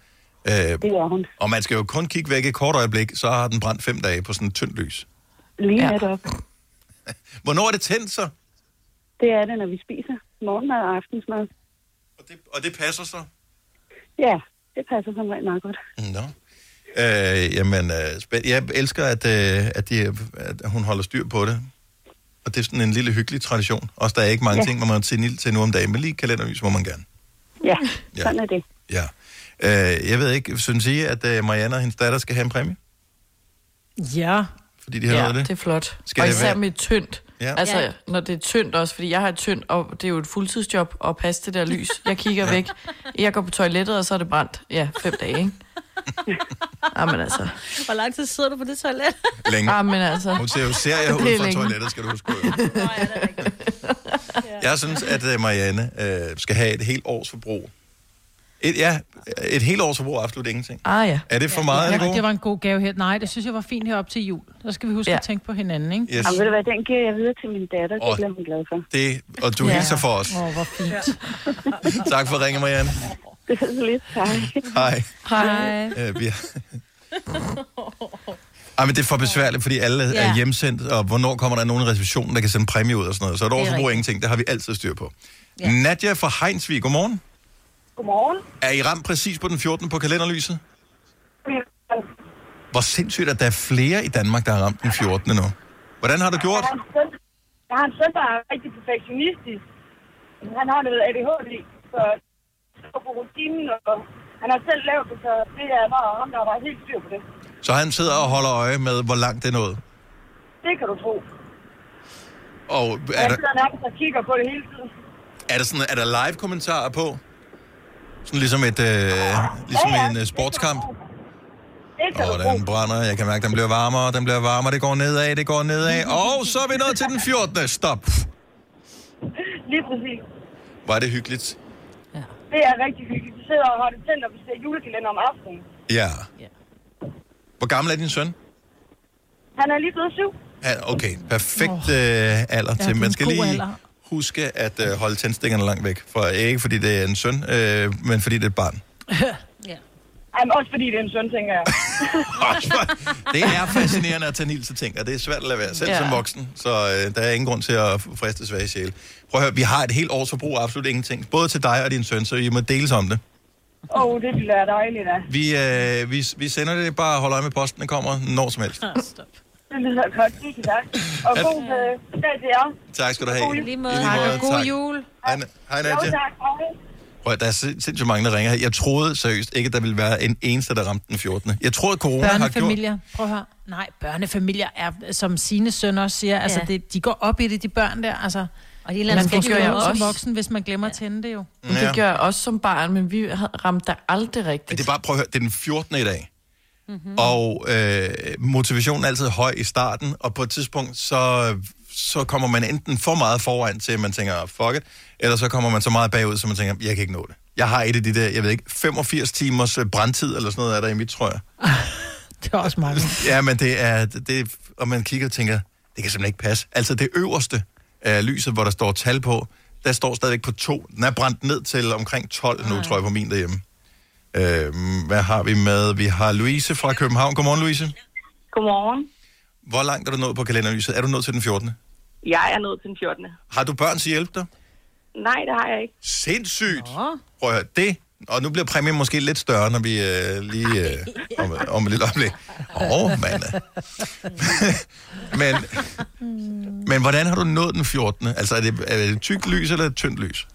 Speaker 1: Øh,
Speaker 16: Det er hun.
Speaker 1: og man skal jo kun kigge væk et kort øjeblik, så har den brændt fem dage på sådan et tyndt lys.
Speaker 16: Lige ja. netop.
Speaker 1: Hvornår er det tændt så?
Speaker 16: Det er det, når vi spiser morgenmad og aftensmad.
Speaker 1: Og det passer så?
Speaker 16: Ja, det passer som regel meget godt.
Speaker 1: Nå. Øh, jamen, øh, spænd- jeg elsker, at, øh, at, de, at hun holder styr på det. Og det er sådan en lille hyggelig tradition. Også der er ikke mange
Speaker 16: Ja.
Speaker 1: ja. ting, man må tænde ild til nu om dagen, men lige kalenderlys må man gerne.
Speaker 16: Ja,
Speaker 1: Ja.
Speaker 16: sådan er det.
Speaker 1: Ja. Øh, jeg ved ikke, synes I, at øh, Marianne og hendes datter skal have en præmie?
Speaker 4: Ja.
Speaker 1: Fordi de har
Speaker 3: ja,
Speaker 1: lavet det?
Speaker 3: det er flot.
Speaker 1: Skal
Speaker 3: Skal og
Speaker 1: det
Speaker 3: især
Speaker 1: være-
Speaker 3: med tyndt.
Speaker 1: Ja.
Speaker 3: Ja. Altså,
Speaker 1: Ja.
Speaker 3: ja. når det er tyndt også, fordi jeg har et tyndt, og det er jo et fuldtidsjob at passe det der lys. Jeg kigger ja. væk, jeg går på toilettet, og så er det brændt. Ja, fem dage, ikke?
Speaker 2: [LAUGHS]
Speaker 3: Jamen altså.
Speaker 2: Hvor lang tid sidder du på det toilet?
Speaker 1: Længe.
Speaker 3: Jamen altså.
Speaker 1: [LAUGHS] Hun ser jo serier
Speaker 3: Det er
Speaker 1: ud fra
Speaker 3: længe.
Speaker 1: toilettet, skal du huske på.
Speaker 3: [LAUGHS]
Speaker 1: Jeg synes, at øh, Marianne øh, skal have et helt års forbrug. Et, ja, et helt års forbrug er absolut ingenting.
Speaker 3: Ah, ja.
Speaker 1: Er det for meget?
Speaker 4: Ja,
Speaker 1: Ja,
Speaker 4: og det var en god gave her. Nej, det synes jeg var fint her op til jul. Så skal vi huske ja. at tænke på hinanden, ikke?
Speaker 1: Yes. Jamen, ved du
Speaker 16: hvad, den giver jeg videre til min datter.
Speaker 1: Åh.
Speaker 16: Det bliver hun glad for.
Speaker 1: det, og du ja. hilser for os.
Speaker 4: Åh, oh, hvor fint. Ja.
Speaker 1: [LAUGHS] Tak for at ringe, Marianne.
Speaker 16: [LAUGHS] Det er så lidt tak.
Speaker 1: Hej.
Speaker 4: Hej.
Speaker 1: Øh, vi har... [LAUGHS] Ej, men det er for besværligt, fordi alle ja.
Speaker 17: Ja.
Speaker 1: er hjemsendt, og hvornår kommer der nogen i receptionen, der kan sende præmie ud og sådan noget. Så et
Speaker 17: Det er
Speaker 1: års forbrug er
Speaker 17: rigtigt.
Speaker 1: ingenting, det har vi altid styr på. Ja. Nadja fra Heinsvig, godmorgen.
Speaker 18: Godmorgen.
Speaker 1: Er I ramt præcis på den 14. på kalenderlyset? Hvor sindssygt, at der er flere i Danmark, der har ramt den 14. nu. Hvordan har du gjort?
Speaker 18: Jeg har en søn, jeg har en søn der er rigtig perfektionistisk. Han har noget ADHD, så han går på rutinen, og han har selv lavet det, så det er bare ham, der var helt styr på det.
Speaker 1: Så han sidder og holder øje med, hvor langt det nåede.
Speaker 18: Det kan du tro. Og
Speaker 1: Og er
Speaker 18: jeg
Speaker 1: der,
Speaker 18: sidder nærmest og kigger på det hele tiden.
Speaker 1: er der, sådan, er der live kommentarer på? Sådan ligesom, et, øh, ligesom en øh, sportskamp?
Speaker 18: Det kan
Speaker 1: Og den brænder, jeg kan mærke, den bliver varmere, den bliver varmere, det går nedad, det går nedad. Og så er vi nået til den 14. Stop.
Speaker 18: [LAUGHS] Lige præcis.
Speaker 1: Var det hyggeligt?
Speaker 18: Det er rigtig hyggeligt. Vi sidder og har det tændt, og vi ser julekalender om aftenen.
Speaker 1: Ja. Hvor gammel er din søn?
Speaker 18: Han er lige blevet syv.
Speaker 1: Ja, Okay, perfekt øh, alder
Speaker 18: Ja,
Speaker 1: til.
Speaker 18: det er
Speaker 1: Man
Speaker 18: en
Speaker 1: skal
Speaker 18: god
Speaker 1: lige
Speaker 18: alder.
Speaker 1: huske at øh, holde tændstikkerne langt væk. For øh, ikke fordi det er en søn, øh, men fordi det er et barn.
Speaker 18: [LAUGHS] ja. Jamen, også fordi det er en søn, tænker
Speaker 1: [LAUGHS]
Speaker 18: jeg.
Speaker 1: Det er fascinerende at tage Niel til ting, og det er svært at lade være, selv
Speaker 18: Ja.
Speaker 1: ja. som voksen. Så øh, der er ingen grund til at friste svage sjæle. Prøv at høre, vi har et helt års forbrug af absolut ingenting. Både til dig og din søn, så I må deles om det.
Speaker 18: Åh, oh, det ville være dejligt, da.
Speaker 1: Vi, øh, vi, vi sender det bare, hold øje med posten, den kommer når som helst.
Speaker 18: Det lyder godt. Tusind tak. Og
Speaker 1: Ja.
Speaker 18: god øh, dag til jer.
Speaker 1: Tak skal du have.
Speaker 18: God jul. I lige måde. Tak, og god jul.
Speaker 1: Hej, Na- hej
Speaker 18: Jo,
Speaker 1: Nadia.
Speaker 18: tak. Hej.
Speaker 1: Prøv, at, der er sind- sindssygt mange, der ringer her. Jeg troede seriøst ikke, at der ville være en eneste, der ramte den 14. Jeg troede, at corona har gjort...
Speaker 4: Børnefamilier, prøv at høre. Nej, børnefamilier er, som sine søn også siger, ja. altså det, de går op i det, de børn der, altså. Og de
Speaker 3: eller andet skal de jo
Speaker 4: som
Speaker 3: også.
Speaker 4: voksen, hvis man glemmer ja. at tænde det jo.
Speaker 3: Men det gjorde jeg også som barn, men vi havde- ramte der aldrig
Speaker 1: Men
Speaker 3: rigtigt.
Speaker 1: det er bare, prøv at høre, det er den 14. i dag. Mm-hmm. Og øh, motivationen er altid høj i starten, og på et tidspunkt, så, så kommer man enten for meget foran til, at man tænker, fuck it, eller så kommer man så meget bagud, så man tænker, jeg kan ikke nå det. Jeg har et af de der, jeg ved ikke, 85 timers øh, brandtid eller sådan noget er der i mit, tror jeg.
Speaker 4: [LAUGHS] Det er også mange.
Speaker 1: [LAUGHS] Ja, men det er, det, er- og man kigger og tænker, det kan simpelthen ikke passe. Altså det øverste af lyset, hvor der står tal på, der står stadigvæk på to. Den er brændt ned til omkring 12 nu, tror jeg, på min derhjemme. Øhm, hvad har vi med? Vi har Louise fra København. Godmorgen, Louise.
Speaker 17: Godmorgen.
Speaker 1: Hvor langt er du nået på kalenderlyset? Er du nået til den 14.
Speaker 17: Jeg er nået til den 14.
Speaker 1: Har du børn til at hjælpe dig?
Speaker 17: Nej, det har jeg ikke.
Speaker 1: Sindssygt! Prøv at høre, det... Og nu bliver præmien måske lidt større, når vi øh, lige... Øh, om, om et lille øjeblik. Åh, oh, mand.
Speaker 4: [LAUGHS]
Speaker 1: men, men hvordan har du nået den 14. Altså, er det, er det tykt lys eller et tyndt lys?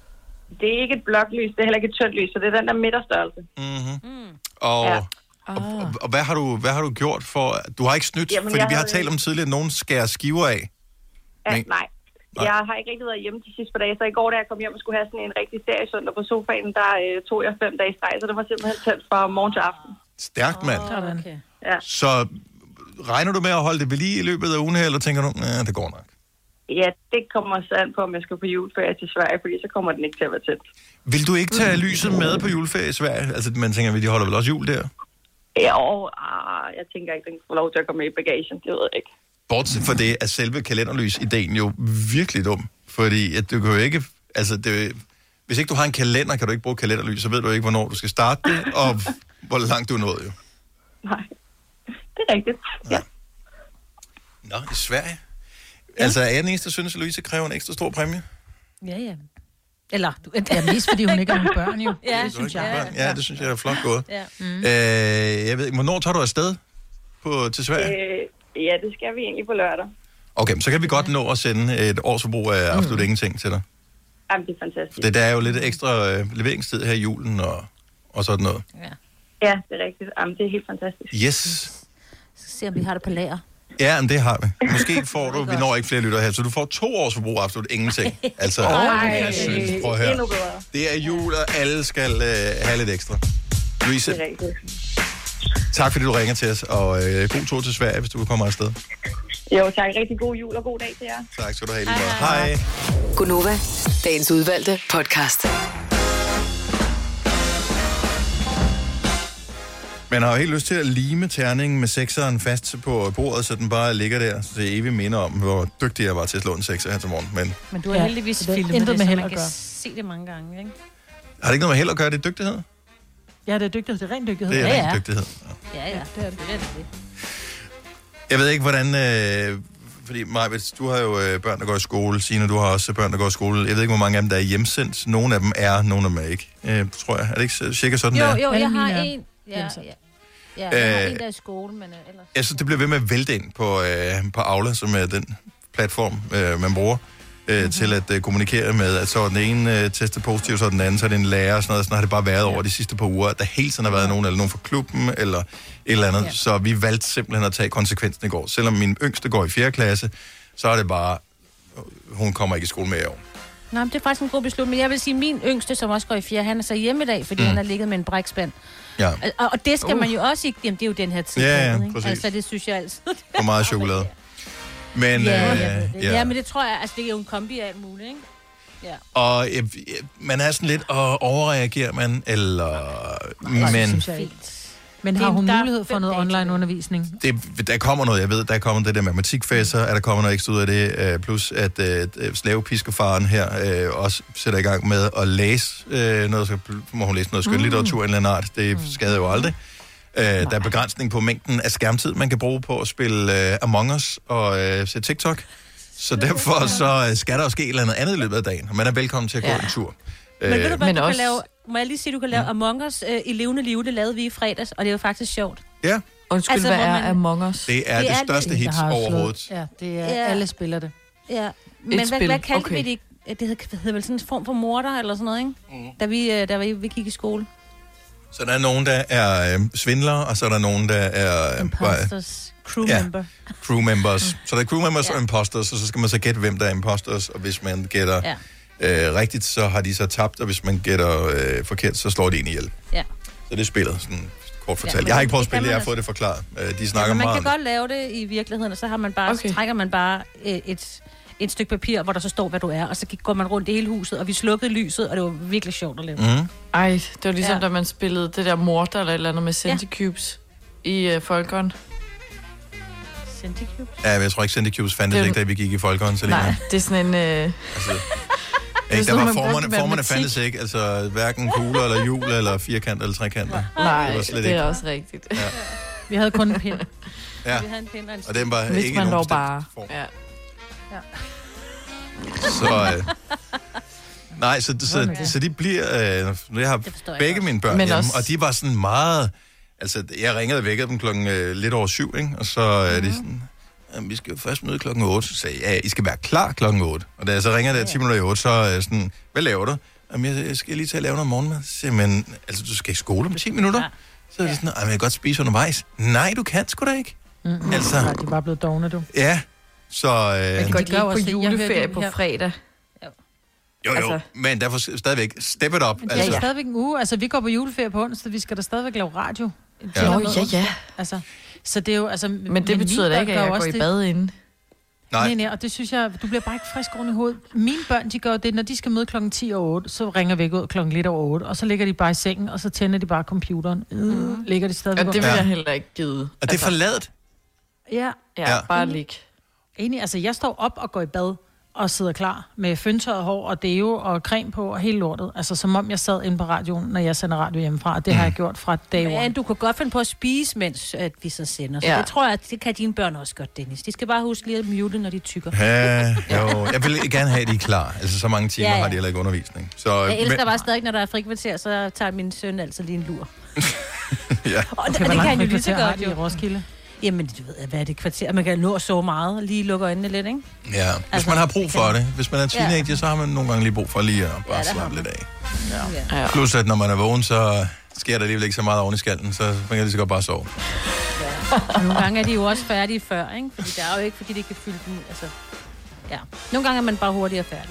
Speaker 17: Det er ikke et bloklys, det er heller ikke et tyndt lys, så det er den der midterstørrelse.
Speaker 1: Mm-hmm. Og, ja. og, og hvad, har du, hvad har du gjort for... Du har ikke snydt,
Speaker 17: Jamen,
Speaker 1: Jamen, fordi
Speaker 17: jeg
Speaker 1: vi har
Speaker 17: havde-
Speaker 1: talt om tidligere, at nogen skærer skiver af.
Speaker 17: Ja,
Speaker 1: Men-
Speaker 17: nej.
Speaker 1: Nej.
Speaker 17: Jeg har ikke rigtig været hjemme de sidste par dage, så i går, da jeg kom hjem og skulle have sådan en rigtig seriesøndag på sofaen, der øh, tog jeg fem dage i streg, så det var simpelthen tændt fra morgen til aften.
Speaker 1: Stærkt, mand.
Speaker 17: Okay. Ja.
Speaker 1: Så regner du med at holde det ved lige i løbet af ugen her, eller tænker du, at det går nok?
Speaker 17: ja, det kommer så an på, om jeg skal på juleferie til Sverige, fordi så kommer den ikke til at være tændt.
Speaker 1: Vil du ikke tage lyset med på juleferie i Sverige? Altså, man tænker, de holder vel også jul der?
Speaker 17: Ja, og ah, jeg tænker ikke, den får lov til at komme med i bagagen, det ved jeg ikke.
Speaker 1: Bortset fra det, er selve kalenderlys-ideen jo virkelig dum. Fordi at du kan jo ikke... Altså, det, hvis ikke du har en kalender, kan du ikke bruge kalenderlys, så ved du ikke, hvornår du skal starte det, og hvor langt du er nået jo.
Speaker 17: [LAUGHS] Det er rigtigt. Ja.
Speaker 1: Nå, i Sverige? Altså, er jeg den eneste, der synes, at Louise kræver en ekstra stor præmie?
Speaker 2: Ja, ja. Eller, du...
Speaker 4: Ja, mest fordi hun ikke har nogen børn, jo.
Speaker 2: Ja,
Speaker 4: Det synes jeg.
Speaker 1: Ja, det synes jeg er flot gået.
Speaker 2: Ja.
Speaker 1: Mm. Øh, jeg ved ikke, hvornår tager du afsted på, til Sverige?
Speaker 17: Øh, ja, det skal vi egentlig på lørdag.
Speaker 1: Okay, men så kan vi godt nå at sende et års forbrug af absolut mm. ingenting til dig.
Speaker 17: Jamen, det er fantastisk.
Speaker 1: Det, der er jo lidt ekstra øh, leveringstid her i julen og, og sådan noget.
Speaker 17: Ja, det er rigtigt. Jamen, det er helt fantastisk.
Speaker 1: Yes.
Speaker 2: Så se, om vi har det på lager.
Speaker 1: Ja, men det har vi.
Speaker 17: [LAUGHS]
Speaker 1: Måske får du, vi når ikke flere lytter her, så du får to års forbrug af absolut ingenting.
Speaker 17: [LAUGHS]
Speaker 1: Altså,
Speaker 17: Ej,
Speaker 1: jeg synes, prøv at
Speaker 17: endnu
Speaker 1: høre.
Speaker 17: bedre.
Speaker 1: Det er jul, og alle skal øh, have lidt ekstra. Louise,
Speaker 17: Det er rigtigt.
Speaker 1: tak fordi du ringer til os, og øh, god tur til Sverige, hvis du kommer afsted.
Speaker 17: Jo, tak. Rigtig god jul og god dag til jer.
Speaker 1: Tak skal du have. Hej. hej.
Speaker 5: Gunova, dagens udvalgte podcast.
Speaker 1: Man har jo helt lyst til at lime terningen med sekseren fast på bordet, så den bare ligger der, så det evigt minder om, hvor dygtig jeg var til at slå en sekser her til morgen. Men
Speaker 2: Men du har
Speaker 4: Ja,
Speaker 2: ja. heldigvis
Speaker 4: så det har
Speaker 2: filmet
Speaker 4: intet
Speaker 2: det,
Speaker 4: med
Speaker 2: så
Speaker 4: held
Speaker 2: man
Speaker 4: at
Speaker 2: kan
Speaker 4: gøre.
Speaker 2: se det mange gange, ikke?
Speaker 1: har det ikke noget med held at gøre, det er dygtighed?
Speaker 4: Ja, det er dygtighed. Det er ren dygtighed.
Speaker 1: Det er
Speaker 4: ja,
Speaker 1: ja, dygtighed.
Speaker 2: Ja, ja. Det er det. det, er det.
Speaker 1: Jeg ved ikke, hvordan... Øh, fordi, Majbets, du har jo øh, børn, der går i skole. Signe, du har også børn, der går i skole. Jeg ved ikke, hvor mange af dem, der er hjemsendt. Nogle af dem er, nogle af dem er ikke. Øh, tror jeg. Er det ikke så- cirka sådan,
Speaker 2: Jo,
Speaker 1: der?
Speaker 2: jo, jeg
Speaker 4: Alle
Speaker 2: har
Speaker 4: mine er
Speaker 2: en... Ja,
Speaker 4: hjemsendt.
Speaker 2: ja. Ja, jeg har
Speaker 1: Øh,
Speaker 2: en, der er i skole, men øh, ellers...
Speaker 1: Jeg synes, det bliver ved med at vælte ind på, øh, på Aula, som er den platform, øh, man bruger øh,
Speaker 2: Mhm.
Speaker 1: mm-hmm. til at øh, kommunikere med. At så er den ene øh, testet positiv, så er den anden, så er det en lærer og sådan noget. Sådan har det bare været over de sidste par uger. at Der hele tiden har været nogen, eller nogen fra klubben, eller et eller andet. Så vi valgte simpelthen at tage konsekvensen i går. Selvom min yngste går i 4. klasse, så er det bare hun kommer ikke i skole med i år.
Speaker 2: Nå, men det er faktisk en god beslutning. Jeg vil sige, at min yngste, som også går i fjerde, han er så hjemme i dag, fordi
Speaker 1: Mm.
Speaker 2: mm. han har ligget med en brækspand.
Speaker 1: Ja.
Speaker 2: Og, og det skal uh. man jo også ikke... Jamen, det er jo den her tid. på
Speaker 1: Ja, ja,
Speaker 2: året, ikke?
Speaker 1: præcis.
Speaker 2: Altså, det synes jeg altid.
Speaker 1: For meget chokolade.
Speaker 2: [LAUGHS]
Speaker 1: Men,
Speaker 2: ja,
Speaker 1: øh,
Speaker 2: jeg ved det.
Speaker 1: ja.
Speaker 2: ja, men det tror jeg, altså, det er jo en kombi af alt muligt, ikke? Ja.
Speaker 1: Og øh, øh, man er sådan lidt, og overreagerer man, eller... Men
Speaker 4: Men har hun mulighed for noget online undervisning?
Speaker 1: det, der kommer noget, jeg ved, der kommer det der matematikfæsser, er der kommer noget ekstra ud af det, øh, plus at øh, øh, slavepiskerfaren her øh, også sætter i gang med at læse øh, noget, så må hun læse noget skønlitteratur mm. eller en art, det skader jo aldrig. Øh, der er begrænsning på mængden af skærmtid, man kan bruge på at spille øh, Among Us og øh, se TikTok. Så derfor så øh, skal der også ske et eller andet andet i løbet af dagen, og man er velkommen til at gå
Speaker 2: Ja.
Speaker 1: en tur.
Speaker 2: Men ved du, hvad
Speaker 1: Øh, men Mm.
Speaker 2: du kan lave... Må jeg lige sige, du kan lave Among Us øh, i levende liv? Det lavede vi i fredags, og det var faktisk sjovt.
Speaker 1: Ja.
Speaker 3: Undskyld,
Speaker 2: Altså,
Speaker 3: altså, hvad
Speaker 2: hvor
Speaker 3: er
Speaker 2: man-
Speaker 3: man... Among Us?
Speaker 1: Det er det, det største hit
Speaker 4: der har slået-
Speaker 1: overhovedet.
Speaker 4: Ja, det er,
Speaker 2: Ja.
Speaker 4: ja. alle spiller det.
Speaker 2: Ja. Men hvad,
Speaker 4: spil,
Speaker 2: hvad kaldte
Speaker 4: okay.
Speaker 2: vi det? ikke? Ja, Det hed, hed vel sådan en form for morder eller sådan noget, ikke? Mm. Da, vi, øh, da vi, vi gik i skole.
Speaker 1: Så der er nogen, der er øh, svindlere, og så er der nogen, der er... Øh, bare-
Speaker 2: Imposters. Crew
Speaker 1: Ja.
Speaker 2: member.
Speaker 1: crew members. Så der er crew members og imposters, og så skal man så gætte, hvem der er imposters, og hvis man gætter
Speaker 2: Ja.
Speaker 1: øh, rigtigt, så har de så tabt, og hvis man gætter øh, forkert, så slår de en ihjel.
Speaker 2: Ja.
Speaker 1: Så det er spillet, sådan kort
Speaker 2: Ja,
Speaker 1: fortalt.
Speaker 2: men
Speaker 1: jeg har ikke
Speaker 2: det
Speaker 1: prøvet at
Speaker 2: kan
Speaker 1: spille det,
Speaker 2: man
Speaker 1: jeg har
Speaker 2: også.
Speaker 1: fået det forklaret. Øh, de snakker
Speaker 2: Altså, man
Speaker 1: meget
Speaker 2: kan
Speaker 1: om det.
Speaker 2: godt lave det i virkeligheden, og så, har man bare, okay. så trækker man bare øh, et, et stykke papir, hvor der så står, hvad du er, og så gik- går man rundt i hele huset, og vi slukkede lyset, og det var virkelig sjovt at lave.
Speaker 1: Mm.
Speaker 3: Ej, det var ligesom,
Speaker 2: Ja.
Speaker 3: ja. da man spillede det der morter eller et eller andet med centicubes ja. i uh, Folkeren.
Speaker 2: Centicubes?
Speaker 1: Ja, men jeg tror ikke, Centicubes fandtes
Speaker 3: Det-
Speaker 1: ikke, da vi gik i folkehånd. Så
Speaker 3: Nej, det er sådan en... Øh...
Speaker 1: Ikke, der
Speaker 3: sådan,
Speaker 1: var
Speaker 3: man brugte
Speaker 1: formerne, formerne
Speaker 3: matematik.
Speaker 1: fandtes ikke, altså hverken kugler eller hjul eller firkant eller trekanter.
Speaker 3: Nej,
Speaker 1: var
Speaker 3: det,
Speaker 1: slet
Speaker 3: det er
Speaker 1: ikke.
Speaker 3: også rigtigt.
Speaker 1: Ja.
Speaker 4: Vi havde kun en pind.
Speaker 1: Ja.
Speaker 2: Vi havde en pind og en
Speaker 1: Og den var
Speaker 3: Hvis
Speaker 1: ikke i
Speaker 3: man
Speaker 1: nogen
Speaker 3: dog bare...
Speaker 1: bestemt
Speaker 3: Ja.
Speaker 1: Så, øh, nej, så, så,
Speaker 3: Okay.
Speaker 1: så de bliver... Øh, nu jeg har
Speaker 3: forstår jeg
Speaker 1: begge
Speaker 3: godt.
Speaker 1: mine børn
Speaker 3: Men
Speaker 1: hjemme,
Speaker 3: også-
Speaker 1: og de var sådan meget... Altså, jeg ringede og vækkede dem klokken øh, lidt over syv, ikke? Og så er øh, de sådan... "Jamen, Vi skal jo først møde klokken 8, så sagde jeg, ja, I skal være klar klokken 8. Og da jeg så ringer der 10 minutter i 8, så er jeg sådan, hvad laver du? Jamen, jeg, jeg skal lige til at lave noget morgenmad. Så siger jeg, men altså, du skal i skole om 10 minutter? Ja. Så er det sådan, "Ej, men jeg kan godt spise undervejs. Nej, du kan sgu da ikke.
Speaker 4: Mm.
Speaker 1: Altså.
Speaker 4: Altså. Nej, de er bare blevet dogne, du.
Speaker 1: Ja, så... Øh,
Speaker 3: Men går de
Speaker 4: gør
Speaker 3: ikke
Speaker 4: også
Speaker 3: på
Speaker 4: det. Jeg hørte
Speaker 3: juleferie
Speaker 4: det
Speaker 3: på
Speaker 4: her.
Speaker 3: fredag?
Speaker 1: Altså. Jo, jo, altså.
Speaker 3: Altså.
Speaker 1: men derfor stadigvæk, step it up.
Speaker 4: Men det er jo stadigvæk en uge. Altså, vi går på juleferie på onsdag, vi skal da stadigvæk lave radio.
Speaker 1: Ja.
Speaker 4: Til og
Speaker 1: Nå,
Speaker 4: med
Speaker 1: ja,
Speaker 4: onsdag. Altså, så det er jo, altså...
Speaker 3: Men det betyder da ikke, at jeg går i bad inden.
Speaker 1: Nej.
Speaker 4: Nej. nej, og det synes jeg, du bliver bare ikke frisk oven i hovedet. Mine børn, de gør jo det, når de skal møde klokken 10 og 8, så ringer væk ud klokken lidt over 8, og så ligger de bare i sengen, og så tænder de bare computeren. Mm. Ligger de stadigvæk
Speaker 3: Mhm. Ja, det vil
Speaker 4: under.
Speaker 3: jeg heller ikke gide.
Speaker 1: Og det er
Speaker 3: Altså,
Speaker 1: forladet.
Speaker 4: Ja.
Speaker 3: Ja,
Speaker 1: Ja.
Speaker 3: bare ligge.
Speaker 4: Enig, altså jeg står op og går i bad og sidder klar med fyndtørret hår og deo og creme på og hele lortet. Altså som om jeg sad inde på radioen, når jeg sender radio hjemmefra, og det
Speaker 1: Mm.
Speaker 4: har jeg gjort fra dag one.
Speaker 2: Men du kunne godt finde på at spise, mens at vi så sender. Så ja.
Speaker 4: Ja.
Speaker 2: det tror jeg, at det kan dine børn også godt, Dennis. De skal bare huske lige at mute, når de tykker. [LAUGHS]
Speaker 1: Ja, jo. Jeg vil gerne have, at I er klar. Altså, så mange timer
Speaker 2: Ja,
Speaker 1: ja,
Speaker 2: ja.
Speaker 1: ja. har de heller ikke undervisning. Så,
Speaker 2: Jeg
Speaker 1: men-
Speaker 2: elsker der bare stadig, når der er frikvarter, så tager min søn altid lige en
Speaker 1: [LAUGHS]
Speaker 2: lur.
Speaker 1: ja.
Speaker 2: Og det,
Speaker 4: Okay, hvor
Speaker 2: og det
Speaker 4: langt
Speaker 2: kan han jo lige så
Speaker 4: frikvarter har
Speaker 2: godt
Speaker 4: de
Speaker 2: jo.
Speaker 4: i Roskilde?
Speaker 2: Jamen, du ved, hvad er det kvarter? Man kan nå så meget og lige lukke øjnene lidt, ikke?
Speaker 1: ja. Hvis
Speaker 2: Altså,
Speaker 1: man har brug
Speaker 2: det
Speaker 1: for
Speaker 2: kan-
Speaker 1: det. Hvis man er teenager, ja. så har man nogle gange lige brug for lige at
Speaker 2: har
Speaker 1: bare ja, slappe lidt af.
Speaker 2: Ja.
Speaker 1: Ja. Plus, at når man er vågen, så sker der alligevel ikke så meget oven i skallen, så man kan lige så godt bare sove.
Speaker 2: Og nogle gange er de jo også færdige før, ikke? Fordi det er jo ikke, fordi det kan fylde dem ud. Altså, ja. Nogle gange er man bare hurtigere færdig.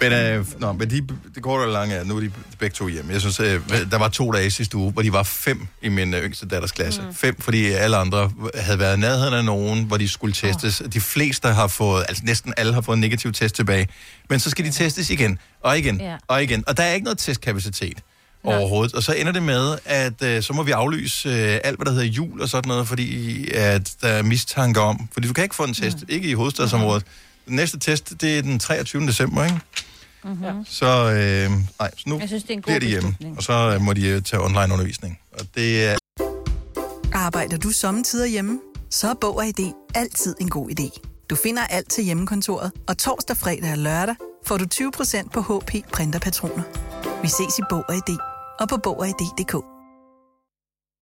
Speaker 1: Men, øh, nå, men de, det korte eller lange er, nu er de begge to hjemme. Jeg synes, øh, der var to dage sidste uge, hvor de var fem i min øh, yngste datters klasse. Mm. Fem, fordi alle andre havde været i nærheden af nogen, hvor de skulle testes. Oh. De fleste har fået, altså næsten alle har fået en negativ test tilbage. Men så skal de testes igen, og igen,
Speaker 15: Ja.
Speaker 1: yeah. og igen. Og der er ikke noget testkapacitet overhovedet. Og så ender det med, at øh, så må vi aflyse øh, alt, hvad der hedder jul og sådan noget, fordi at der er mistanke om... Fordi du kan ikke få en test, mm. ikke i hovedstadsområdet. Den næste test, det er den 23. december, ikke?
Speaker 2: Mm-hmm.
Speaker 1: Så, øh, nej, så nu
Speaker 2: Jeg synes, det er en god
Speaker 1: bliver de hjemme,
Speaker 2: beslutning.
Speaker 1: og så øh, må de øh, tage online undervisning. Og det er...
Speaker 12: Arbejder du sommetider hjemme? Så er Bog og ID altid en god idé. Du finder alt til hjemmekontoret, og torsdag, fredag og lørdag får du 20% på HP Printerpatroner. Vi ses i Bog og ID og på Bog og ID.dk.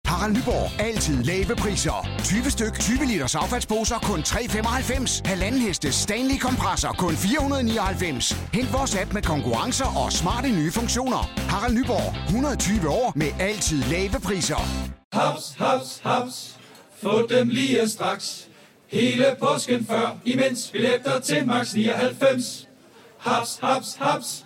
Speaker 13: Harald Nyborg. Altid lave priser. 20 styk, 20 liters affaldsposer kun 3,95. Halvanden heste Stanley kompresser kun 499. Hent vores app med konkurrencer og smarte nye funktioner. Harald Nyborg. 120 år med altid lave priser.
Speaker 14: Haps, haps, haps. Få dem lige straks. Hele påsken før, imens billetter til max 99. Haps, haps, haps.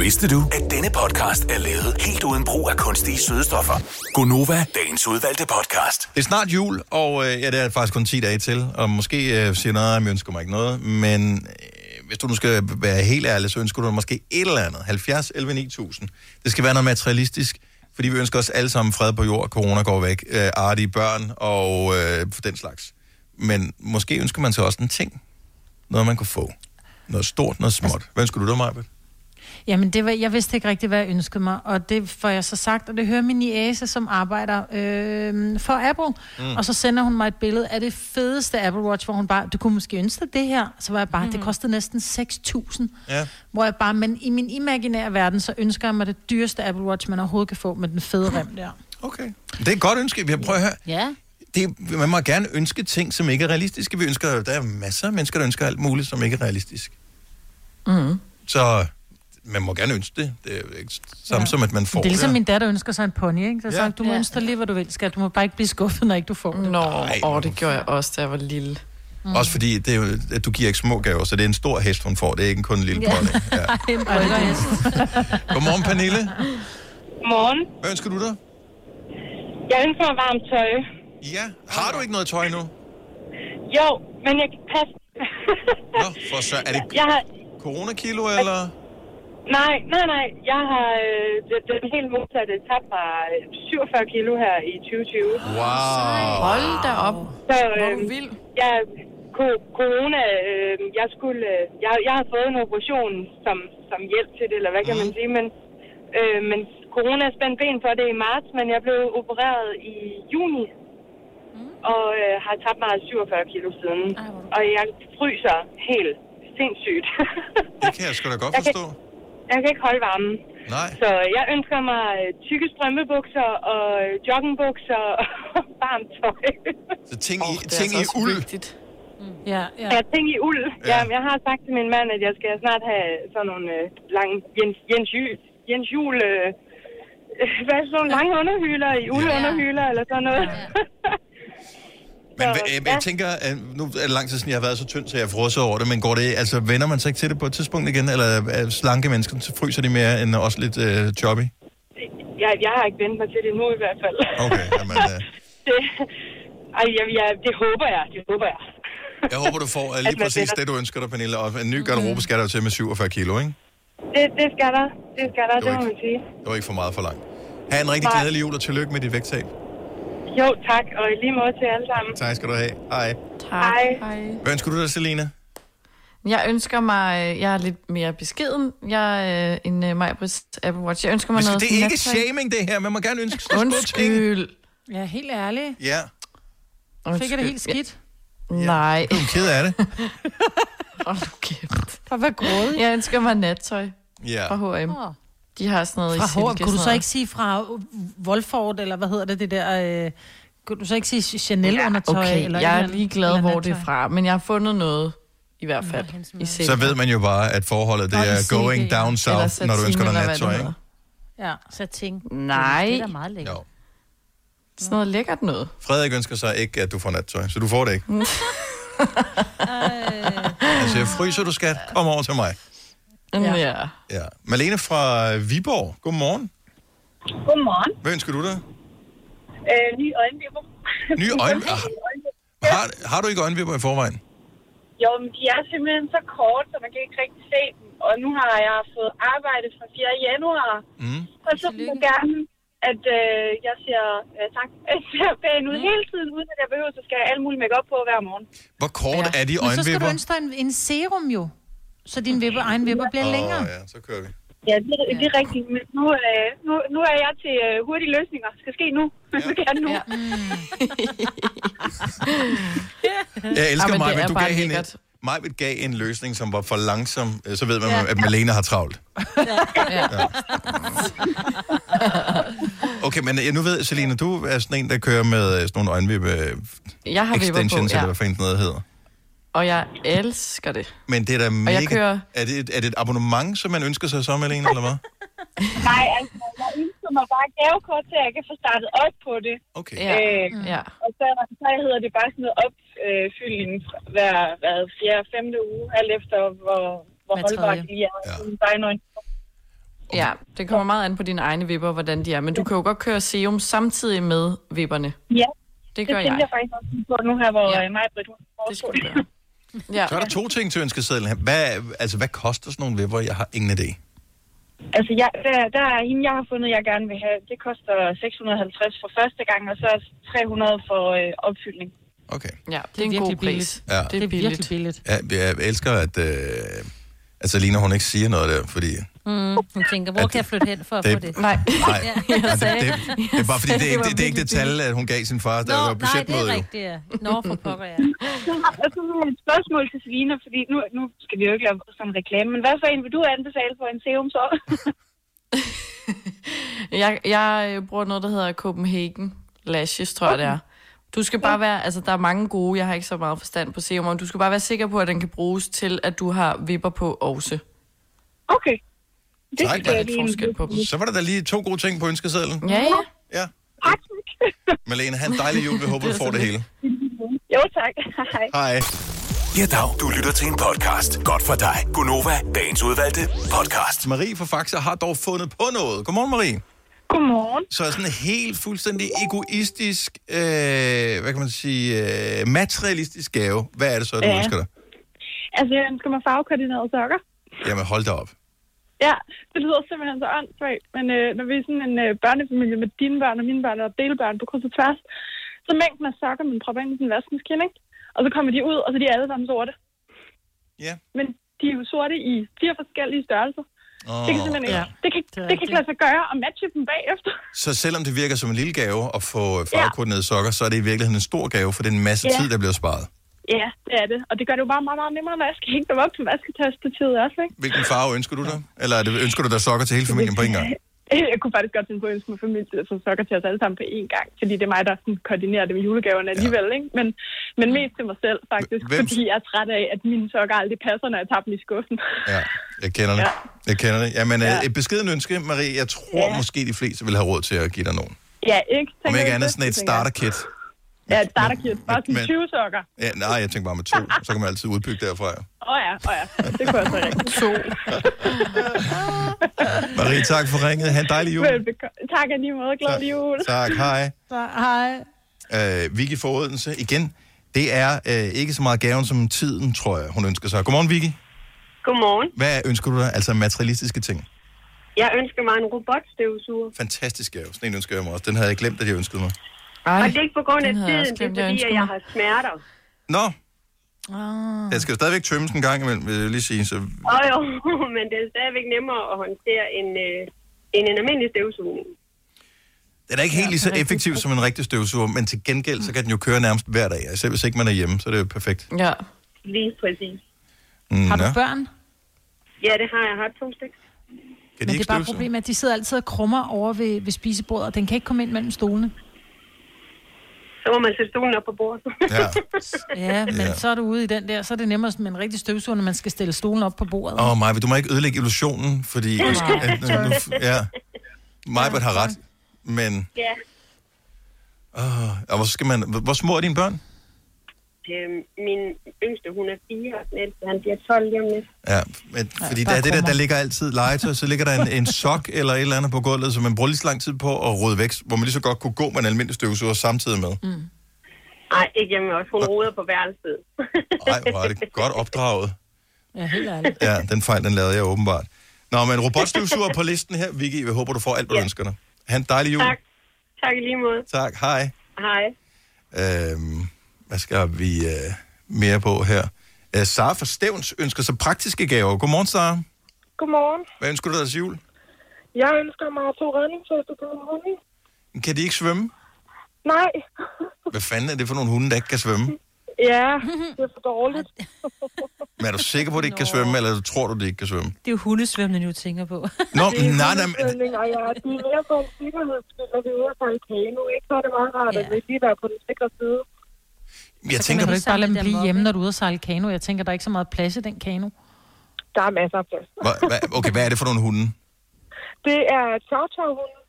Speaker 15: Vidste du, at denne podcast er lavet helt uden brug af kunstige sødestoffer? Gonova, dagens udvalgte podcast.
Speaker 1: Det er snart jul, og øh, ja, det er faktisk kun 10 dage til, og måske øh, siger nej, jeg ønsker mig ikke noget, men øh, hvis du nu skal være helt ærlig, så ønsker du dig måske et eller andet. 70, 11, 9000. Det skal være noget materialistisk, fordi vi ønsker os alle sammen fred på jord, corona går væk, øh, artige børn og øh, den slags. Men måske ønsker man sig også en ting. Noget, man kunne få. Noget stort, noget
Speaker 2: Altså-
Speaker 1: småt. Hvad ønsker du dig, Majbet?
Speaker 4: Jamen, det var, jeg vidste ikke rigtigt, hvad jeg ønskede mig, og det får jeg så sagt, og det hører min niæse, som arbejder øh, for Apple,
Speaker 19: Mm.
Speaker 4: mm. og så sender hun mig et billede af det fedeste Apple Watch, hvor hun bare, du kunne måske ønske dig det her, så var jeg bare, mm. det kostede næsten 6.000,
Speaker 1: Ja.
Speaker 4: hvor jeg bare, men i min imaginære verden, så ønsker jeg mig det dyreste Apple Watch, man overhovedet kan få med den fede rem der.
Speaker 1: Okay. Det er et godt ønske. Vi har prøvet at høre.
Speaker 4: Ja.
Speaker 1: Det, man må gerne ønske ting, som ikke er realistiske. Vi ønsker, der er masser af mennesker, der ønsker alt muligt, som ikke er realistisk.
Speaker 4: Mm.
Speaker 1: Så man må gerne ønske det. Det er jo ikke samme ja. som, at man får
Speaker 4: det er ligesom
Speaker 1: det.
Speaker 4: min datter ønsker sig en pony, ikke? Så
Speaker 1: Ja.
Speaker 4: ja. sagde, du må
Speaker 1: Ja.
Speaker 4: ønske dig lige, hvad du vil, skat. Du må bare ikke blive skuffet, når ikke du får det.
Speaker 3: Nå, åh, det gjorde jeg også, da jeg var lille.
Speaker 1: Mm. Også fordi, det er jo, at du giver ikke små gaver, så det er en stor hest, hun får. Det er ikke kun en lille ja. pony. Godmorgen, [LAUGHS] Pernille.
Speaker 16: Morgen.
Speaker 1: Hvad ønsker du dig?
Speaker 16: Jeg ønsker mig varmt tøj.
Speaker 1: Ja. Har du ikke noget tøj nu?
Speaker 16: Jo, men jeg kan passe.
Speaker 1: Nå, for så er det
Speaker 16: Jeg har...
Speaker 1: coronakilo, eller?
Speaker 16: Nej, nej, nej. Jeg har øh, det, det er den helt modsatte tabt mig øh, 47 kilo her i 2020.
Speaker 1: Wow.
Speaker 3: Hold da op.
Speaker 16: Så, øh, Jeg, co- corona, øh, jeg skulle, øh, jeg, jeg har fået en operation som, som hjælp til det, eller hvad kan man
Speaker 3: Mhm.
Speaker 16: sige, men, øh, men corona spændte ben for det i marts, men jeg blev opereret i juni,
Speaker 3: Mhm.
Speaker 16: og øh, har tabt mig 47 kilo siden. Og jeg fryser helt sindssygt.
Speaker 1: Det kan jeg sgu da godt
Speaker 16: Jeg kan-
Speaker 1: forstå.
Speaker 16: jeg kan ikke holde varmen.
Speaker 1: Nej.
Speaker 16: Så jeg ønsker mig øh, tykke strømmebukser og øh, joggingbukser [LAUGHS] og varmt tøj.
Speaker 1: Så ting i, oh, ting i
Speaker 3: altså
Speaker 1: uld. Vigtigt.
Speaker 4: Ja, ja.
Speaker 16: Jeg tænker i uld. Ja. Jamen, jeg har sagt til min mand, at jeg skal snart have sådan nogle øh, lange Jens, Jens, Jul- Jens Jul... Øh, [LAUGHS] hvad er sådan nogle lange underhyler i uldunderhyler eller sådan noget.
Speaker 1: Men hva- jeg, jeg tænker, at nu er det lang tid siden, jeg har været så tynd, så jeg frosset over det, men går det, altså vender man sig ikke til det på et tidspunkt igen, eller er slanke mennesker, så fryser de mere end også lidt øh, choppy?
Speaker 16: Jeg, jeg har ikke vendt mig til det nu i hvert fald.
Speaker 1: Okay,
Speaker 16: [LAUGHS]
Speaker 1: jamen, øh,
Speaker 16: Det, ej, jeg, jeg, det håber jeg, det håber jeg.
Speaker 1: jeg håber, du
Speaker 16: [LAUGHS]
Speaker 1: får øh, lige
Speaker 16: At man
Speaker 1: præcis
Speaker 16: vender-
Speaker 1: det, du ønsker dig, Pernille, og en ny garderobe skal der jo til med 47 kilo, ikke?
Speaker 16: Det, det skal der, det skal der, det
Speaker 1: Det var
Speaker 16: må man sige.
Speaker 1: Det var ikke for meget for langt. Ha' en rigtig
Speaker 16: Nej.
Speaker 1: glædelig jul, og tillykke med dit vægttab.
Speaker 16: Jo, tak, og i lige måde til alle sammen.
Speaker 1: Tak skal du have. Hej.
Speaker 16: Hej.
Speaker 3: Hej.
Speaker 1: Hvad ønsker du dig, Selina?
Speaker 3: Jeg ønsker mig, øh, jeg er lidt mere beskeden, jeg er øh, en uh, Majbrist Apple Watch. Jeg ønsker mig
Speaker 1: Hvis-
Speaker 3: noget...
Speaker 1: det er
Speaker 3: sådan
Speaker 1: ikke
Speaker 3: nattøj.
Speaker 1: shaming, det her. Man må gerne ønske sig små ting.
Speaker 3: Undskyld.
Speaker 4: Ja, helt ærligt.
Speaker 1: Ja.
Speaker 4: Fik jeg det helt skidt?
Speaker 3: Ja. Nej. Du
Speaker 1: er ked
Speaker 3: [LAUGHS]
Speaker 1: af det.
Speaker 3: Åh, du kæft.
Speaker 4: Og hvad grådig.
Speaker 3: Jeg ønsker mig nattøj
Speaker 1: Ja.
Speaker 3: fra H&M.
Speaker 4: Åh.
Speaker 3: De har sådan noget i
Speaker 4: Fra
Speaker 3: silke.
Speaker 4: H&M. Kunne du
Speaker 3: sådan
Speaker 4: så
Speaker 3: noget.
Speaker 4: ikke sige fra Wolford, eller hvad hedder det, det der... Øh, kunne du så ikke sige Chanel-undertøj?
Speaker 3: Okay,
Speaker 4: eller
Speaker 3: jeg er
Speaker 4: eller-
Speaker 3: lige glad,
Speaker 4: eller
Speaker 3: hvor det er
Speaker 4: nattøj?
Speaker 3: fra, men jeg har fundet noget, i hvert fald, i silke.
Speaker 1: Så ved man jo bare, at forholdet det
Speaker 3: Og i
Speaker 1: er
Speaker 3: silke,
Speaker 1: going
Speaker 3: ja.
Speaker 1: down
Speaker 3: Eller
Speaker 1: south, når du
Speaker 3: satin,
Speaker 1: ønsker dig
Speaker 3: eller hvad
Speaker 1: nattøj,
Speaker 3: det
Speaker 1: ikke?
Speaker 4: Ja, satin.
Speaker 3: Nej.
Speaker 2: Det er da meget lækkert.
Speaker 3: Sådan noget lækkert noget.
Speaker 1: Frederik ønsker sig ikke, at du får nattøj, så du får det
Speaker 3: [LAUGHS]
Speaker 1: ikke. altså, jeg fryser, du skat. Kom over til mig.
Speaker 3: Ja. ja.
Speaker 1: Ja. Malene fra Viborg, godmorgen.
Speaker 16: Godmorgen.
Speaker 1: Hvad ønsker du dig?
Speaker 16: Øh, ny øjenvipper.
Speaker 1: Nye
Speaker 17: [LAUGHS]
Speaker 1: øjen- Ah. Har, har du ikke øjenvipper i forvejen?
Speaker 16: Jo, men de er simpelthen så korte, så man kan ikke rigtig se dem. Og nu har jeg fået arbejde fra 4. januar.
Speaker 1: Mm.
Speaker 16: Og så vil jeg gerne, at øh, jeg ser, øh, tak, jeg ser pæn ud hele tiden, uden at jeg behøver at skal have alle mulige makeup på hver morgen.
Speaker 1: Hvor kort ja. er
Speaker 4: Men så skal
Speaker 1: de
Speaker 4: du
Speaker 1: øjenvipper?
Speaker 4: ønske dig en, en serum jo, så din vipper, egen vipper bliver
Speaker 1: Åh,
Speaker 4: længere.
Speaker 1: ja, så kører vi.
Speaker 16: Ja, det, ja. det er rigtigt. Men nu, øh, nu, nu er jeg til øh, hurtige løsninger. Skal ske nu. [LAUGHS] Ja. skal jeg nu. Ja.
Speaker 1: Jeg
Speaker 3: Ej,
Speaker 1: elsker
Speaker 3: men
Speaker 1: mig,
Speaker 3: det
Speaker 1: men
Speaker 3: er
Speaker 1: du
Speaker 3: bare
Speaker 1: gav hende...
Speaker 3: lækkert.
Speaker 1: Majbet gav en løsning, som var for langsom, øh, så ved man, ja. at Malene har travlt. Okay, men øh, nu ved jeg, Selina, du er sådan en, der kører med øh, sådan nogle øjenvippe øh,
Speaker 3: Jeg har vipper på,
Speaker 1: extensions,
Speaker 3: ja.
Speaker 1: eller hvad fanden noget hedder.
Speaker 3: Og jeg elsker det.
Speaker 1: Men det er da mega...
Speaker 3: jeg kører-
Speaker 1: Er, det, et- er det et abonnement, som man ønsker sig som, Malene, eller hvad?
Speaker 18: Nej, altså, jeg ønsker mig bare et gavekort til, at jeg kan få startet op på det.
Speaker 1: Okay.
Speaker 18: Ja. Øh,
Speaker 3: ja.
Speaker 18: Og så, så hedder det bare sådan noget opfyldning øh, hver, hver fjerde, femte uge, alt efter hvor, hvor
Speaker 3: Hver
Speaker 18: holdbart
Speaker 3: tredje.
Speaker 18: de er. Ja.
Speaker 3: Ja, det kommer meget an på dine egne vipper, hvordan de er. Men du kan jo godt køre serum samtidig med vipperne.
Speaker 18: Ja,
Speaker 3: Det gør
Speaker 18: det tænker
Speaker 3: jeg.
Speaker 18: jeg faktisk også på nu her, hvor
Speaker 3: Ja.
Speaker 18: ja. mig Britt, hun det skal
Speaker 3: gøre. Ja.
Speaker 18: [LAUGHS]
Speaker 1: Så er der to ting til ønskesedlen her. Hvad, altså, hvad koster sådan nogle vipper? Jeg har ingen idé.
Speaker 18: Altså, jeg, der, der er hende, jeg har fundet, jeg gerne vil have. Det koster 650 for første gang, og så 300 for øh, opfyldning.
Speaker 1: Okay.
Speaker 3: Ja, det er en god pris.
Speaker 1: Ja.
Speaker 3: Det er billigt.
Speaker 4: billigt.
Speaker 1: Ja, jeg elsker, at, øh, at Selina, hun ikke siger noget der, fordi...
Speaker 2: Mm, hun tænker, hvor kan jeg flytte hen for at
Speaker 1: det-
Speaker 2: få det?
Speaker 3: Nej.
Speaker 1: [LAUGHS]
Speaker 2: [LAUGHS]
Speaker 1: Nej,
Speaker 2: Ja.
Speaker 1: men det, det, det er bare
Speaker 2: [LAUGHS]
Speaker 1: fordi, det, er ikke- det, det er ikke det tal, at hun gav sin far, der var
Speaker 2: Nå, nej, det
Speaker 1: budgetmøde.
Speaker 2: er
Speaker 1: jo.
Speaker 2: rigtigt. ja. Nå, for pokker, ja.
Speaker 18: Og [LAUGHS] så har jeg et spørgsmål til Sviner, fordi nu, nu skal vi jo ikke lave sådan en reklame, men hvad for en vil du anbefale for en serum så?
Speaker 3: Jeg, jeg øh, bruger noget, der hedder Copenhagen Lashes, tror jeg, det er. Du skal bare være, altså der er mange gode, jeg har ikke så meget forstand på serum, men du skal bare være sikker på, at den kan bruges til, at du har vipper på også.
Speaker 18: Okay.
Speaker 3: Det er der lidt forskel på dem.
Speaker 1: Så var der da lige to gode ting på ønskesedlen.
Speaker 3: Ja, ja.
Speaker 1: [LAUGHS] Ja. Malene, have en dejlig jul. Vi håber, du får det hele.
Speaker 18: jo, tak. Hej.
Speaker 1: Hej.
Speaker 15: Ja, dag. Du lytter til en podcast. Godt for dig. Gunova, dagens udvalgte podcast.
Speaker 1: Marie fra Faxe har dog fundet på noget. Godmorgen, Marie.
Speaker 18: Godmorgen.
Speaker 1: Så er sådan helt fuldstændig egoistisk, øh, hvad kan man sige, øh, materialistisk gave. Hvad er det så, du
Speaker 18: Ja.
Speaker 1: ønsker dig?
Speaker 18: Altså, jeg ønsker mig farvekoordinerede sokker.
Speaker 1: Jamen, hold da op.
Speaker 18: Ja, det lyder simpelthen så åndssvagt, men øh, når vi er sådan en øh, børnefamilie med dine børn og mine børn og delbørn på kryds og tværs, så mængden af sokker, man propper ind i sådan en vaskemaskine, ikke? Og så kommer de ud, og så er de alle sammen sorte.
Speaker 1: Ja.
Speaker 18: Men de er jo sorte i fire forskellige størrelser.
Speaker 1: Åh,
Speaker 18: det kan simpelthen ikke,
Speaker 1: ja.
Speaker 18: det kan, det, kan ikke lade sig gøre at matche dem bagefter. [LAUGHS]
Speaker 1: Så selvom det virker som en lille gave at få farvekoordinerede sokker, så er det i virkeligheden en stor gave, for det er en masse
Speaker 18: Ja.
Speaker 1: tid, der bliver sparet.
Speaker 18: Ja, det er det. Og det gør det jo bare meget, meget nemmere, når jeg skal hænge dem op på vasketastativet også, ikke?
Speaker 1: Hvilken farve ønsker du dig? Eller er det, ønsker du dig sokker til hele familien på en gang?
Speaker 18: [LAUGHS] Jeg kunne faktisk godt tænke på at ønske mig familie, så sokker til os alle sammen på én gang, fordi det er mig, der sådan koordinerer det med julegaverne alligevel, ikke? Men, men mest til mig selv, faktisk,
Speaker 1: Hvem-
Speaker 18: fordi jeg er træt af, at mine sokker aldrig passer, når jeg tager dem i skuffen. [LAUGHS]
Speaker 1: Ja, jeg kender det. Jeg kender det. Jamen, ja. et beskeden ønske, Marie. Jeg tror ja. måske, de fleste vil have råd til at give dig nogen.
Speaker 18: Ja, ikke?
Speaker 1: Om
Speaker 18: Tænker
Speaker 1: ikke
Speaker 18: du
Speaker 1: andet
Speaker 18: det?
Speaker 1: sådan et
Speaker 18: Tænker jeg.
Speaker 1: starterkit.
Speaker 18: Ja, et starterkit. Bare sådan 20
Speaker 1: men-
Speaker 18: sokker.
Speaker 1: Ja, nej, jeg tænker bare med to, så kan man altid udbygge derfra.
Speaker 18: Åh oh ja, åh oh ja. Det kunne jeg så
Speaker 1: [LAUGHS]
Speaker 18: rigtigt.
Speaker 3: to.
Speaker 1: Marie, tak for ringet. Ha' en dejlig jul.
Speaker 18: Velbekomme. Tak af lige måde. Glædelig jul.
Speaker 1: Tak, hej.
Speaker 4: Så, hej.
Speaker 1: Øh, Vicky fra Odense, igen. Det er øh, ikke så meget gaven som tiden, tror jeg, hun ønsker sig. Godmorgen, Vicky.
Speaker 20: Godmorgen.
Speaker 1: Hvad ønsker du dig? Altså materialistiske ting.
Speaker 20: Jeg ønsker mig en robotstøvsuger.
Speaker 1: Fantastisk gave. Sådan en ønsker jeg mig også. Den havde jeg glemt, at jeg ønskede mig.
Speaker 20: Ej, og det er ikke på grund af
Speaker 3: den havde jeg
Speaker 20: tiden,
Speaker 3: også
Speaker 20: det er
Speaker 3: glemt, jeg
Speaker 20: fordi, at
Speaker 3: ønskede
Speaker 20: jeg
Speaker 3: mig.
Speaker 20: har smerter.
Speaker 1: Nå,
Speaker 20: Åh,
Speaker 1: den skal jo stadigvæk tømmes en gang imellem, vil jeg lige sige. Så
Speaker 20: oh, jo, [LAUGHS] men det er stadigvæk nemmere at håndtere end, øh, end en almindelig støvsugning.
Speaker 1: Den er ikke helt lige så effektiv som en rigtig støvsuger, men til gengæld, så kan den jo køre nærmest hver dag. Selv hvis ikke man er hjemme, så er det jo perfekt.
Speaker 3: Ja.
Speaker 20: Lige præcis.
Speaker 1: Har du
Speaker 4: Børn,
Speaker 20: Ja, det har jeg. Jeg har to stykker.
Speaker 1: Kan
Speaker 4: men det
Speaker 1: de ikke
Speaker 4: er bare
Speaker 1: støvsuge?
Speaker 4: problemet, at de sidder altid og krummer over ved, ved spisebordet, og den kan ikke komme ind mellem stolene.
Speaker 20: Så må man sætte stolen op på bordet.
Speaker 1: Ja. [LAUGHS]
Speaker 4: Ja, men
Speaker 1: Ja.
Speaker 4: ja. så er du ude i den der, så er det nemmere med en rigtig støvsuger, når man skal stille stolen op på bordet.
Speaker 1: Åh, oh, Maja, du må ikke ødelægge illusionen, fordi...
Speaker 4: Nej.
Speaker 1: at- at- nu- Ja. Majbert har ret,
Speaker 20: [LAUGHS]
Speaker 1: men...
Speaker 20: ja.
Speaker 1: Oh, og hvor, skal man, hvor små er dine børn?
Speaker 20: Øhm, min yngste, hun er fire, og den ældste, han bliver 12 lige om lidt.
Speaker 1: Ja, men, fordi
Speaker 20: der
Speaker 1: der, er det der,
Speaker 20: kommer.
Speaker 1: der ligger altid legetøj, så ligger der en, en sok eller et eller andet på gulvet, som man bruger lige så lang tid på at rydde væk, hvor man lige så godt kunne gå med en almindelig støvsuger samtidig med.
Speaker 20: Nej, ikke hjemme også. Hun roder på værelset.
Speaker 1: Nej, hvor er
Speaker 20: [LAUGHS]
Speaker 1: det godt opdraget.
Speaker 4: Ja, helt ærligt.
Speaker 1: Ja, den fejl, den lavede jeg åbenbart. Nå, men robotstøvsuger på listen her. Vicky, jeg håber, du får alt, hvad du ønsker dig. Ha' en dejlig jul.
Speaker 20: Tak. Tak i lige måde.
Speaker 1: Tak, hej.
Speaker 20: Hej.
Speaker 1: Øhm, hvad skal vi øh, mere på her? Øh, Sara fra Stævns ønsker sig praktiske gaver. Godmorgen, Sara.
Speaker 21: Godmorgen.
Speaker 1: Hvad ønsker du dig til jul?
Speaker 21: Jeg ønsker mig to redningsveste til min hund.
Speaker 1: Kan de ikke svømme?
Speaker 21: Nej.
Speaker 1: Hvad fanden er det for nogle hunde, der ikke kan svømme?
Speaker 21: Ja, det er for dårligt.
Speaker 1: Men er du sikker på, at de ikke kan svømme, eller tror du, at de ikke kan svømme?
Speaker 2: Det er jo hundesvømmende, du tænker på.
Speaker 1: Nå, nej, nej, men
Speaker 21: Svømning, og jeg, det er mere for en sikkerheds skyld, når vi er ude og sejle kano, ikke? Så er det meget rart, at vi lige være på den sikre side.
Speaker 4: Så
Speaker 1: jeg
Speaker 4: kan
Speaker 1: tænker...
Speaker 4: man jo ikke bare lade dem blive hjemme, når du er ude og sejle kano. Jeg tænker, der er ikke så meget plads i den kano.
Speaker 21: Der er masser af plads.
Speaker 1: Hva, hva, okay, hvad er det for nogle hunde?
Speaker 21: Det er tavtavhunden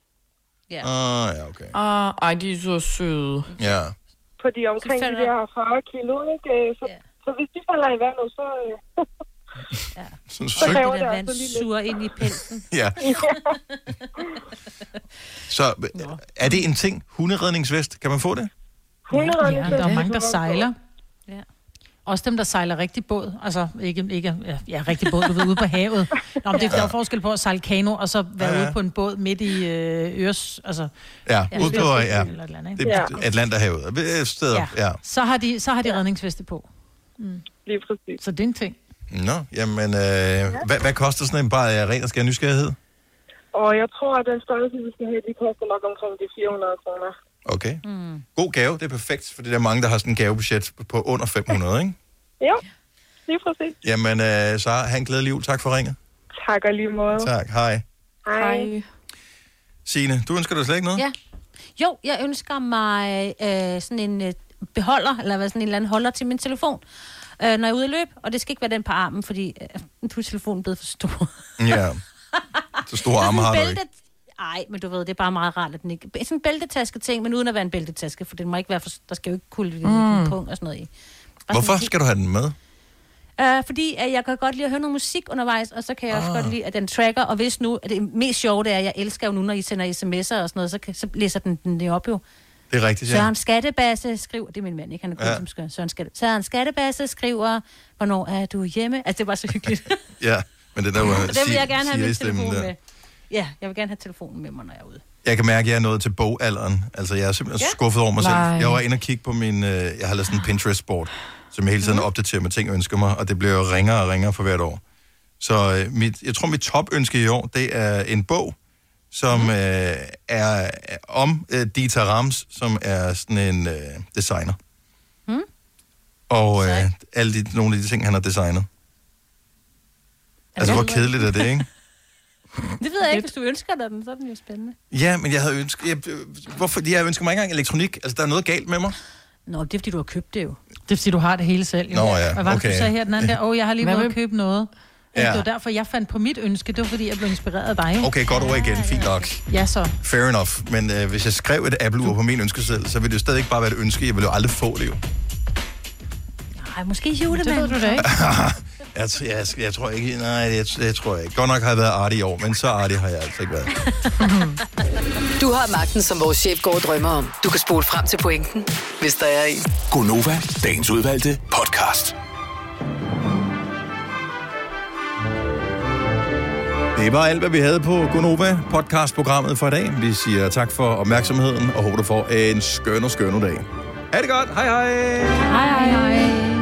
Speaker 1: Ja. Ah, ja, okay.
Speaker 3: Ah, ej, de er så søde.
Speaker 1: Ja.
Speaker 21: på de omkring de der 40 kilo, ikke? Øh, Så, så hvis de falder i vandet, så... øh,
Speaker 1: Sådan
Speaker 21: Så
Speaker 1: sygt.
Speaker 21: laver
Speaker 2: [LAUGHS] Det
Speaker 21: det
Speaker 2: der
Speaker 21: altså
Speaker 2: vand
Speaker 21: lige lidt.
Speaker 2: suger ind i pelsen. [LAUGHS]
Speaker 1: Ja. Så øh, er det en ting? Hunderedningsvest? Kan man få det?
Speaker 4: Ja, men der er mange, der
Speaker 21: Ja.
Speaker 4: sejler. Ja. Også dem, der sejler rigtig båd. Altså, ikke, ikke ja, ja, rigtig båd, du ved, ude på havet. Nå,
Speaker 1: [LAUGHS]
Speaker 4: men det er, der er jo forskel på at sejle kano, og så være
Speaker 1: Ja, ja.
Speaker 4: ude på en båd midt i øh, Øres... Altså,
Speaker 1: Ja, ude på ja.
Speaker 4: Eller et eller andet, ikke?
Speaker 1: Det er Atlanterhavet. Øh, Steder, ja.
Speaker 4: Så har de, så har de redningsveste på. Mm.
Speaker 21: Lige præcis.
Speaker 4: Så det er en ting.
Speaker 1: Nå, jamen, øh, hvad, hvad koster sådan en bare af ren og skær nysgerrighed?
Speaker 21: Og jeg tror, at den størrelse, vi skal have, de koster nok omkring de 400 kroner.
Speaker 1: Okay. God gave, det er perfekt, for der er mange, der har sådan en gavebudget på under 500, ikke?
Speaker 21: Jo, lige præcis.
Speaker 1: Jamen, øh, så han glædelig jul. Tak for ringet.
Speaker 21: Tak og lige måde.
Speaker 1: Tak, hej.
Speaker 21: Hej.
Speaker 1: Signe, du ønsker dig slet ikke noget?
Speaker 2: Ja. Jo, jeg ønsker mig øh, sådan en øh, beholder, eller hvad, sådan en eller anden holder til min telefon, øh, når jeg er ude at løbe. Og det skal ikke være den på armen, fordi øh, nu er telefonen blevet for stor.
Speaker 1: Ja. Så store arme har du ikke.
Speaker 2: Nej, men du ved, det er bare meget rart, at den ikke... Sådan en bæltetaske-ting, men uden at være en bæltetaske, for den må ikke være for... Der skal jo ikke kunne ligge en
Speaker 1: Mm.
Speaker 2: pung og sådan noget i.
Speaker 1: Hvorfor skal du have den med?
Speaker 2: Uh, fordi at jeg kan godt lide at høre noget musik undervejs, og så kan jeg ah. også godt lide, at den tracker. Og hvis nu, at det mest sjove det er, at jeg elsker jo nu, når I sender sms'er og sådan noget, så, kan, så læser den den det op jo.
Speaker 1: Det er rigtigt, ja.
Speaker 2: Søren Skattebasse skriver, det er min mand, ikke? Han er god
Speaker 1: Ja.
Speaker 2: ja. som skøn. Søren, Skatte, Søren Skattebasse skriver, hvornår er du hjemme? Altså, det var så hyggeligt.
Speaker 1: [LAUGHS] Ja, men det der var
Speaker 2: og det vil jeg gerne have min
Speaker 1: Siri-stemmen
Speaker 2: telefon
Speaker 1: der.
Speaker 2: med. Ja, jeg vil gerne have telefonen med mig, når jeg er ude.
Speaker 1: Jeg kan mærke, at jeg er nået til bogalderen. Altså, jeg er simpelthen
Speaker 2: Ja.
Speaker 1: skuffet over mig selv.
Speaker 2: Nej.
Speaker 1: Jeg var inde og kigge på min... Øh, jeg har lavet sådan en Pinterest-board, som jeg hele
Speaker 2: Mhm.
Speaker 1: tiden opdaterer med ting, jeg ønsker mig, og det bliver jo ringere og ringere for hvert år. Så øh, mit, jeg tror, mit topønske i år, det er en bog, som
Speaker 2: Mhm.
Speaker 1: mm. øh, er er om øh, Dieter Rams, som er sådan en øh, designer.
Speaker 2: Mm.
Speaker 1: Og øh, alle de, nogle af de ting, han har designet. Altså, hvor kedeligt er det, ikke?
Speaker 2: Det ved jeg ikke, hvis du ønsker dig den, så er den jo spændende.
Speaker 1: Ja, men jeg havde ønsket... Jeg, øh, hvorfor, jeg ønsker mig ikke engang elektronik. Altså, der er noget galt med mig.
Speaker 2: Nå, det er, fordi du har købt det jo.
Speaker 4: Det er, fordi du har det hele selv. jo.
Speaker 1: Nå ja,
Speaker 4: Hvad var det,
Speaker 1: okay.
Speaker 4: du sagde her den anden der? Åh, oh, jeg har lige
Speaker 1: Hvad
Speaker 4: været
Speaker 1: med-
Speaker 4: at købe noget.
Speaker 1: Ja.
Speaker 4: Ja. Det var derfor, jeg fandt på mit ønske. Det var, fordi jeg blev inspireret af dig. ikke?
Speaker 1: Okay, godt ord igen. Fint nok.
Speaker 4: Ja, så.
Speaker 1: Fair enough. Men øh, hvis jeg skrev et Apple-ur på min ønskeseddel, så ville det jo stadig ikke bare være et ønske. Jeg ville jo aldrig få det jo.
Speaker 2: Nej, måske julemanden.
Speaker 4: Det ved du da ikke.
Speaker 1: [LAUGHS] Jeg, tr- jeg, jeg tror ikke... Nej, jeg, jeg tror ikke. Godt nok har jeg været artig i år, men så artig har jeg altså ikke været.
Speaker 5: Du har magten, som vores chef går og drømmer om. Du kan spole frem til pointen, hvis der er en.
Speaker 15: Gonova, dagens udvalgte podcast.
Speaker 1: Det var alt, hvad vi havde på Gonova podcastprogrammet for i dag. Vi siger tak for opmærksomheden og håber, du får en skøn og skøn dag. Ha' det godt. Hej hej.
Speaker 2: Hej, hej, hej.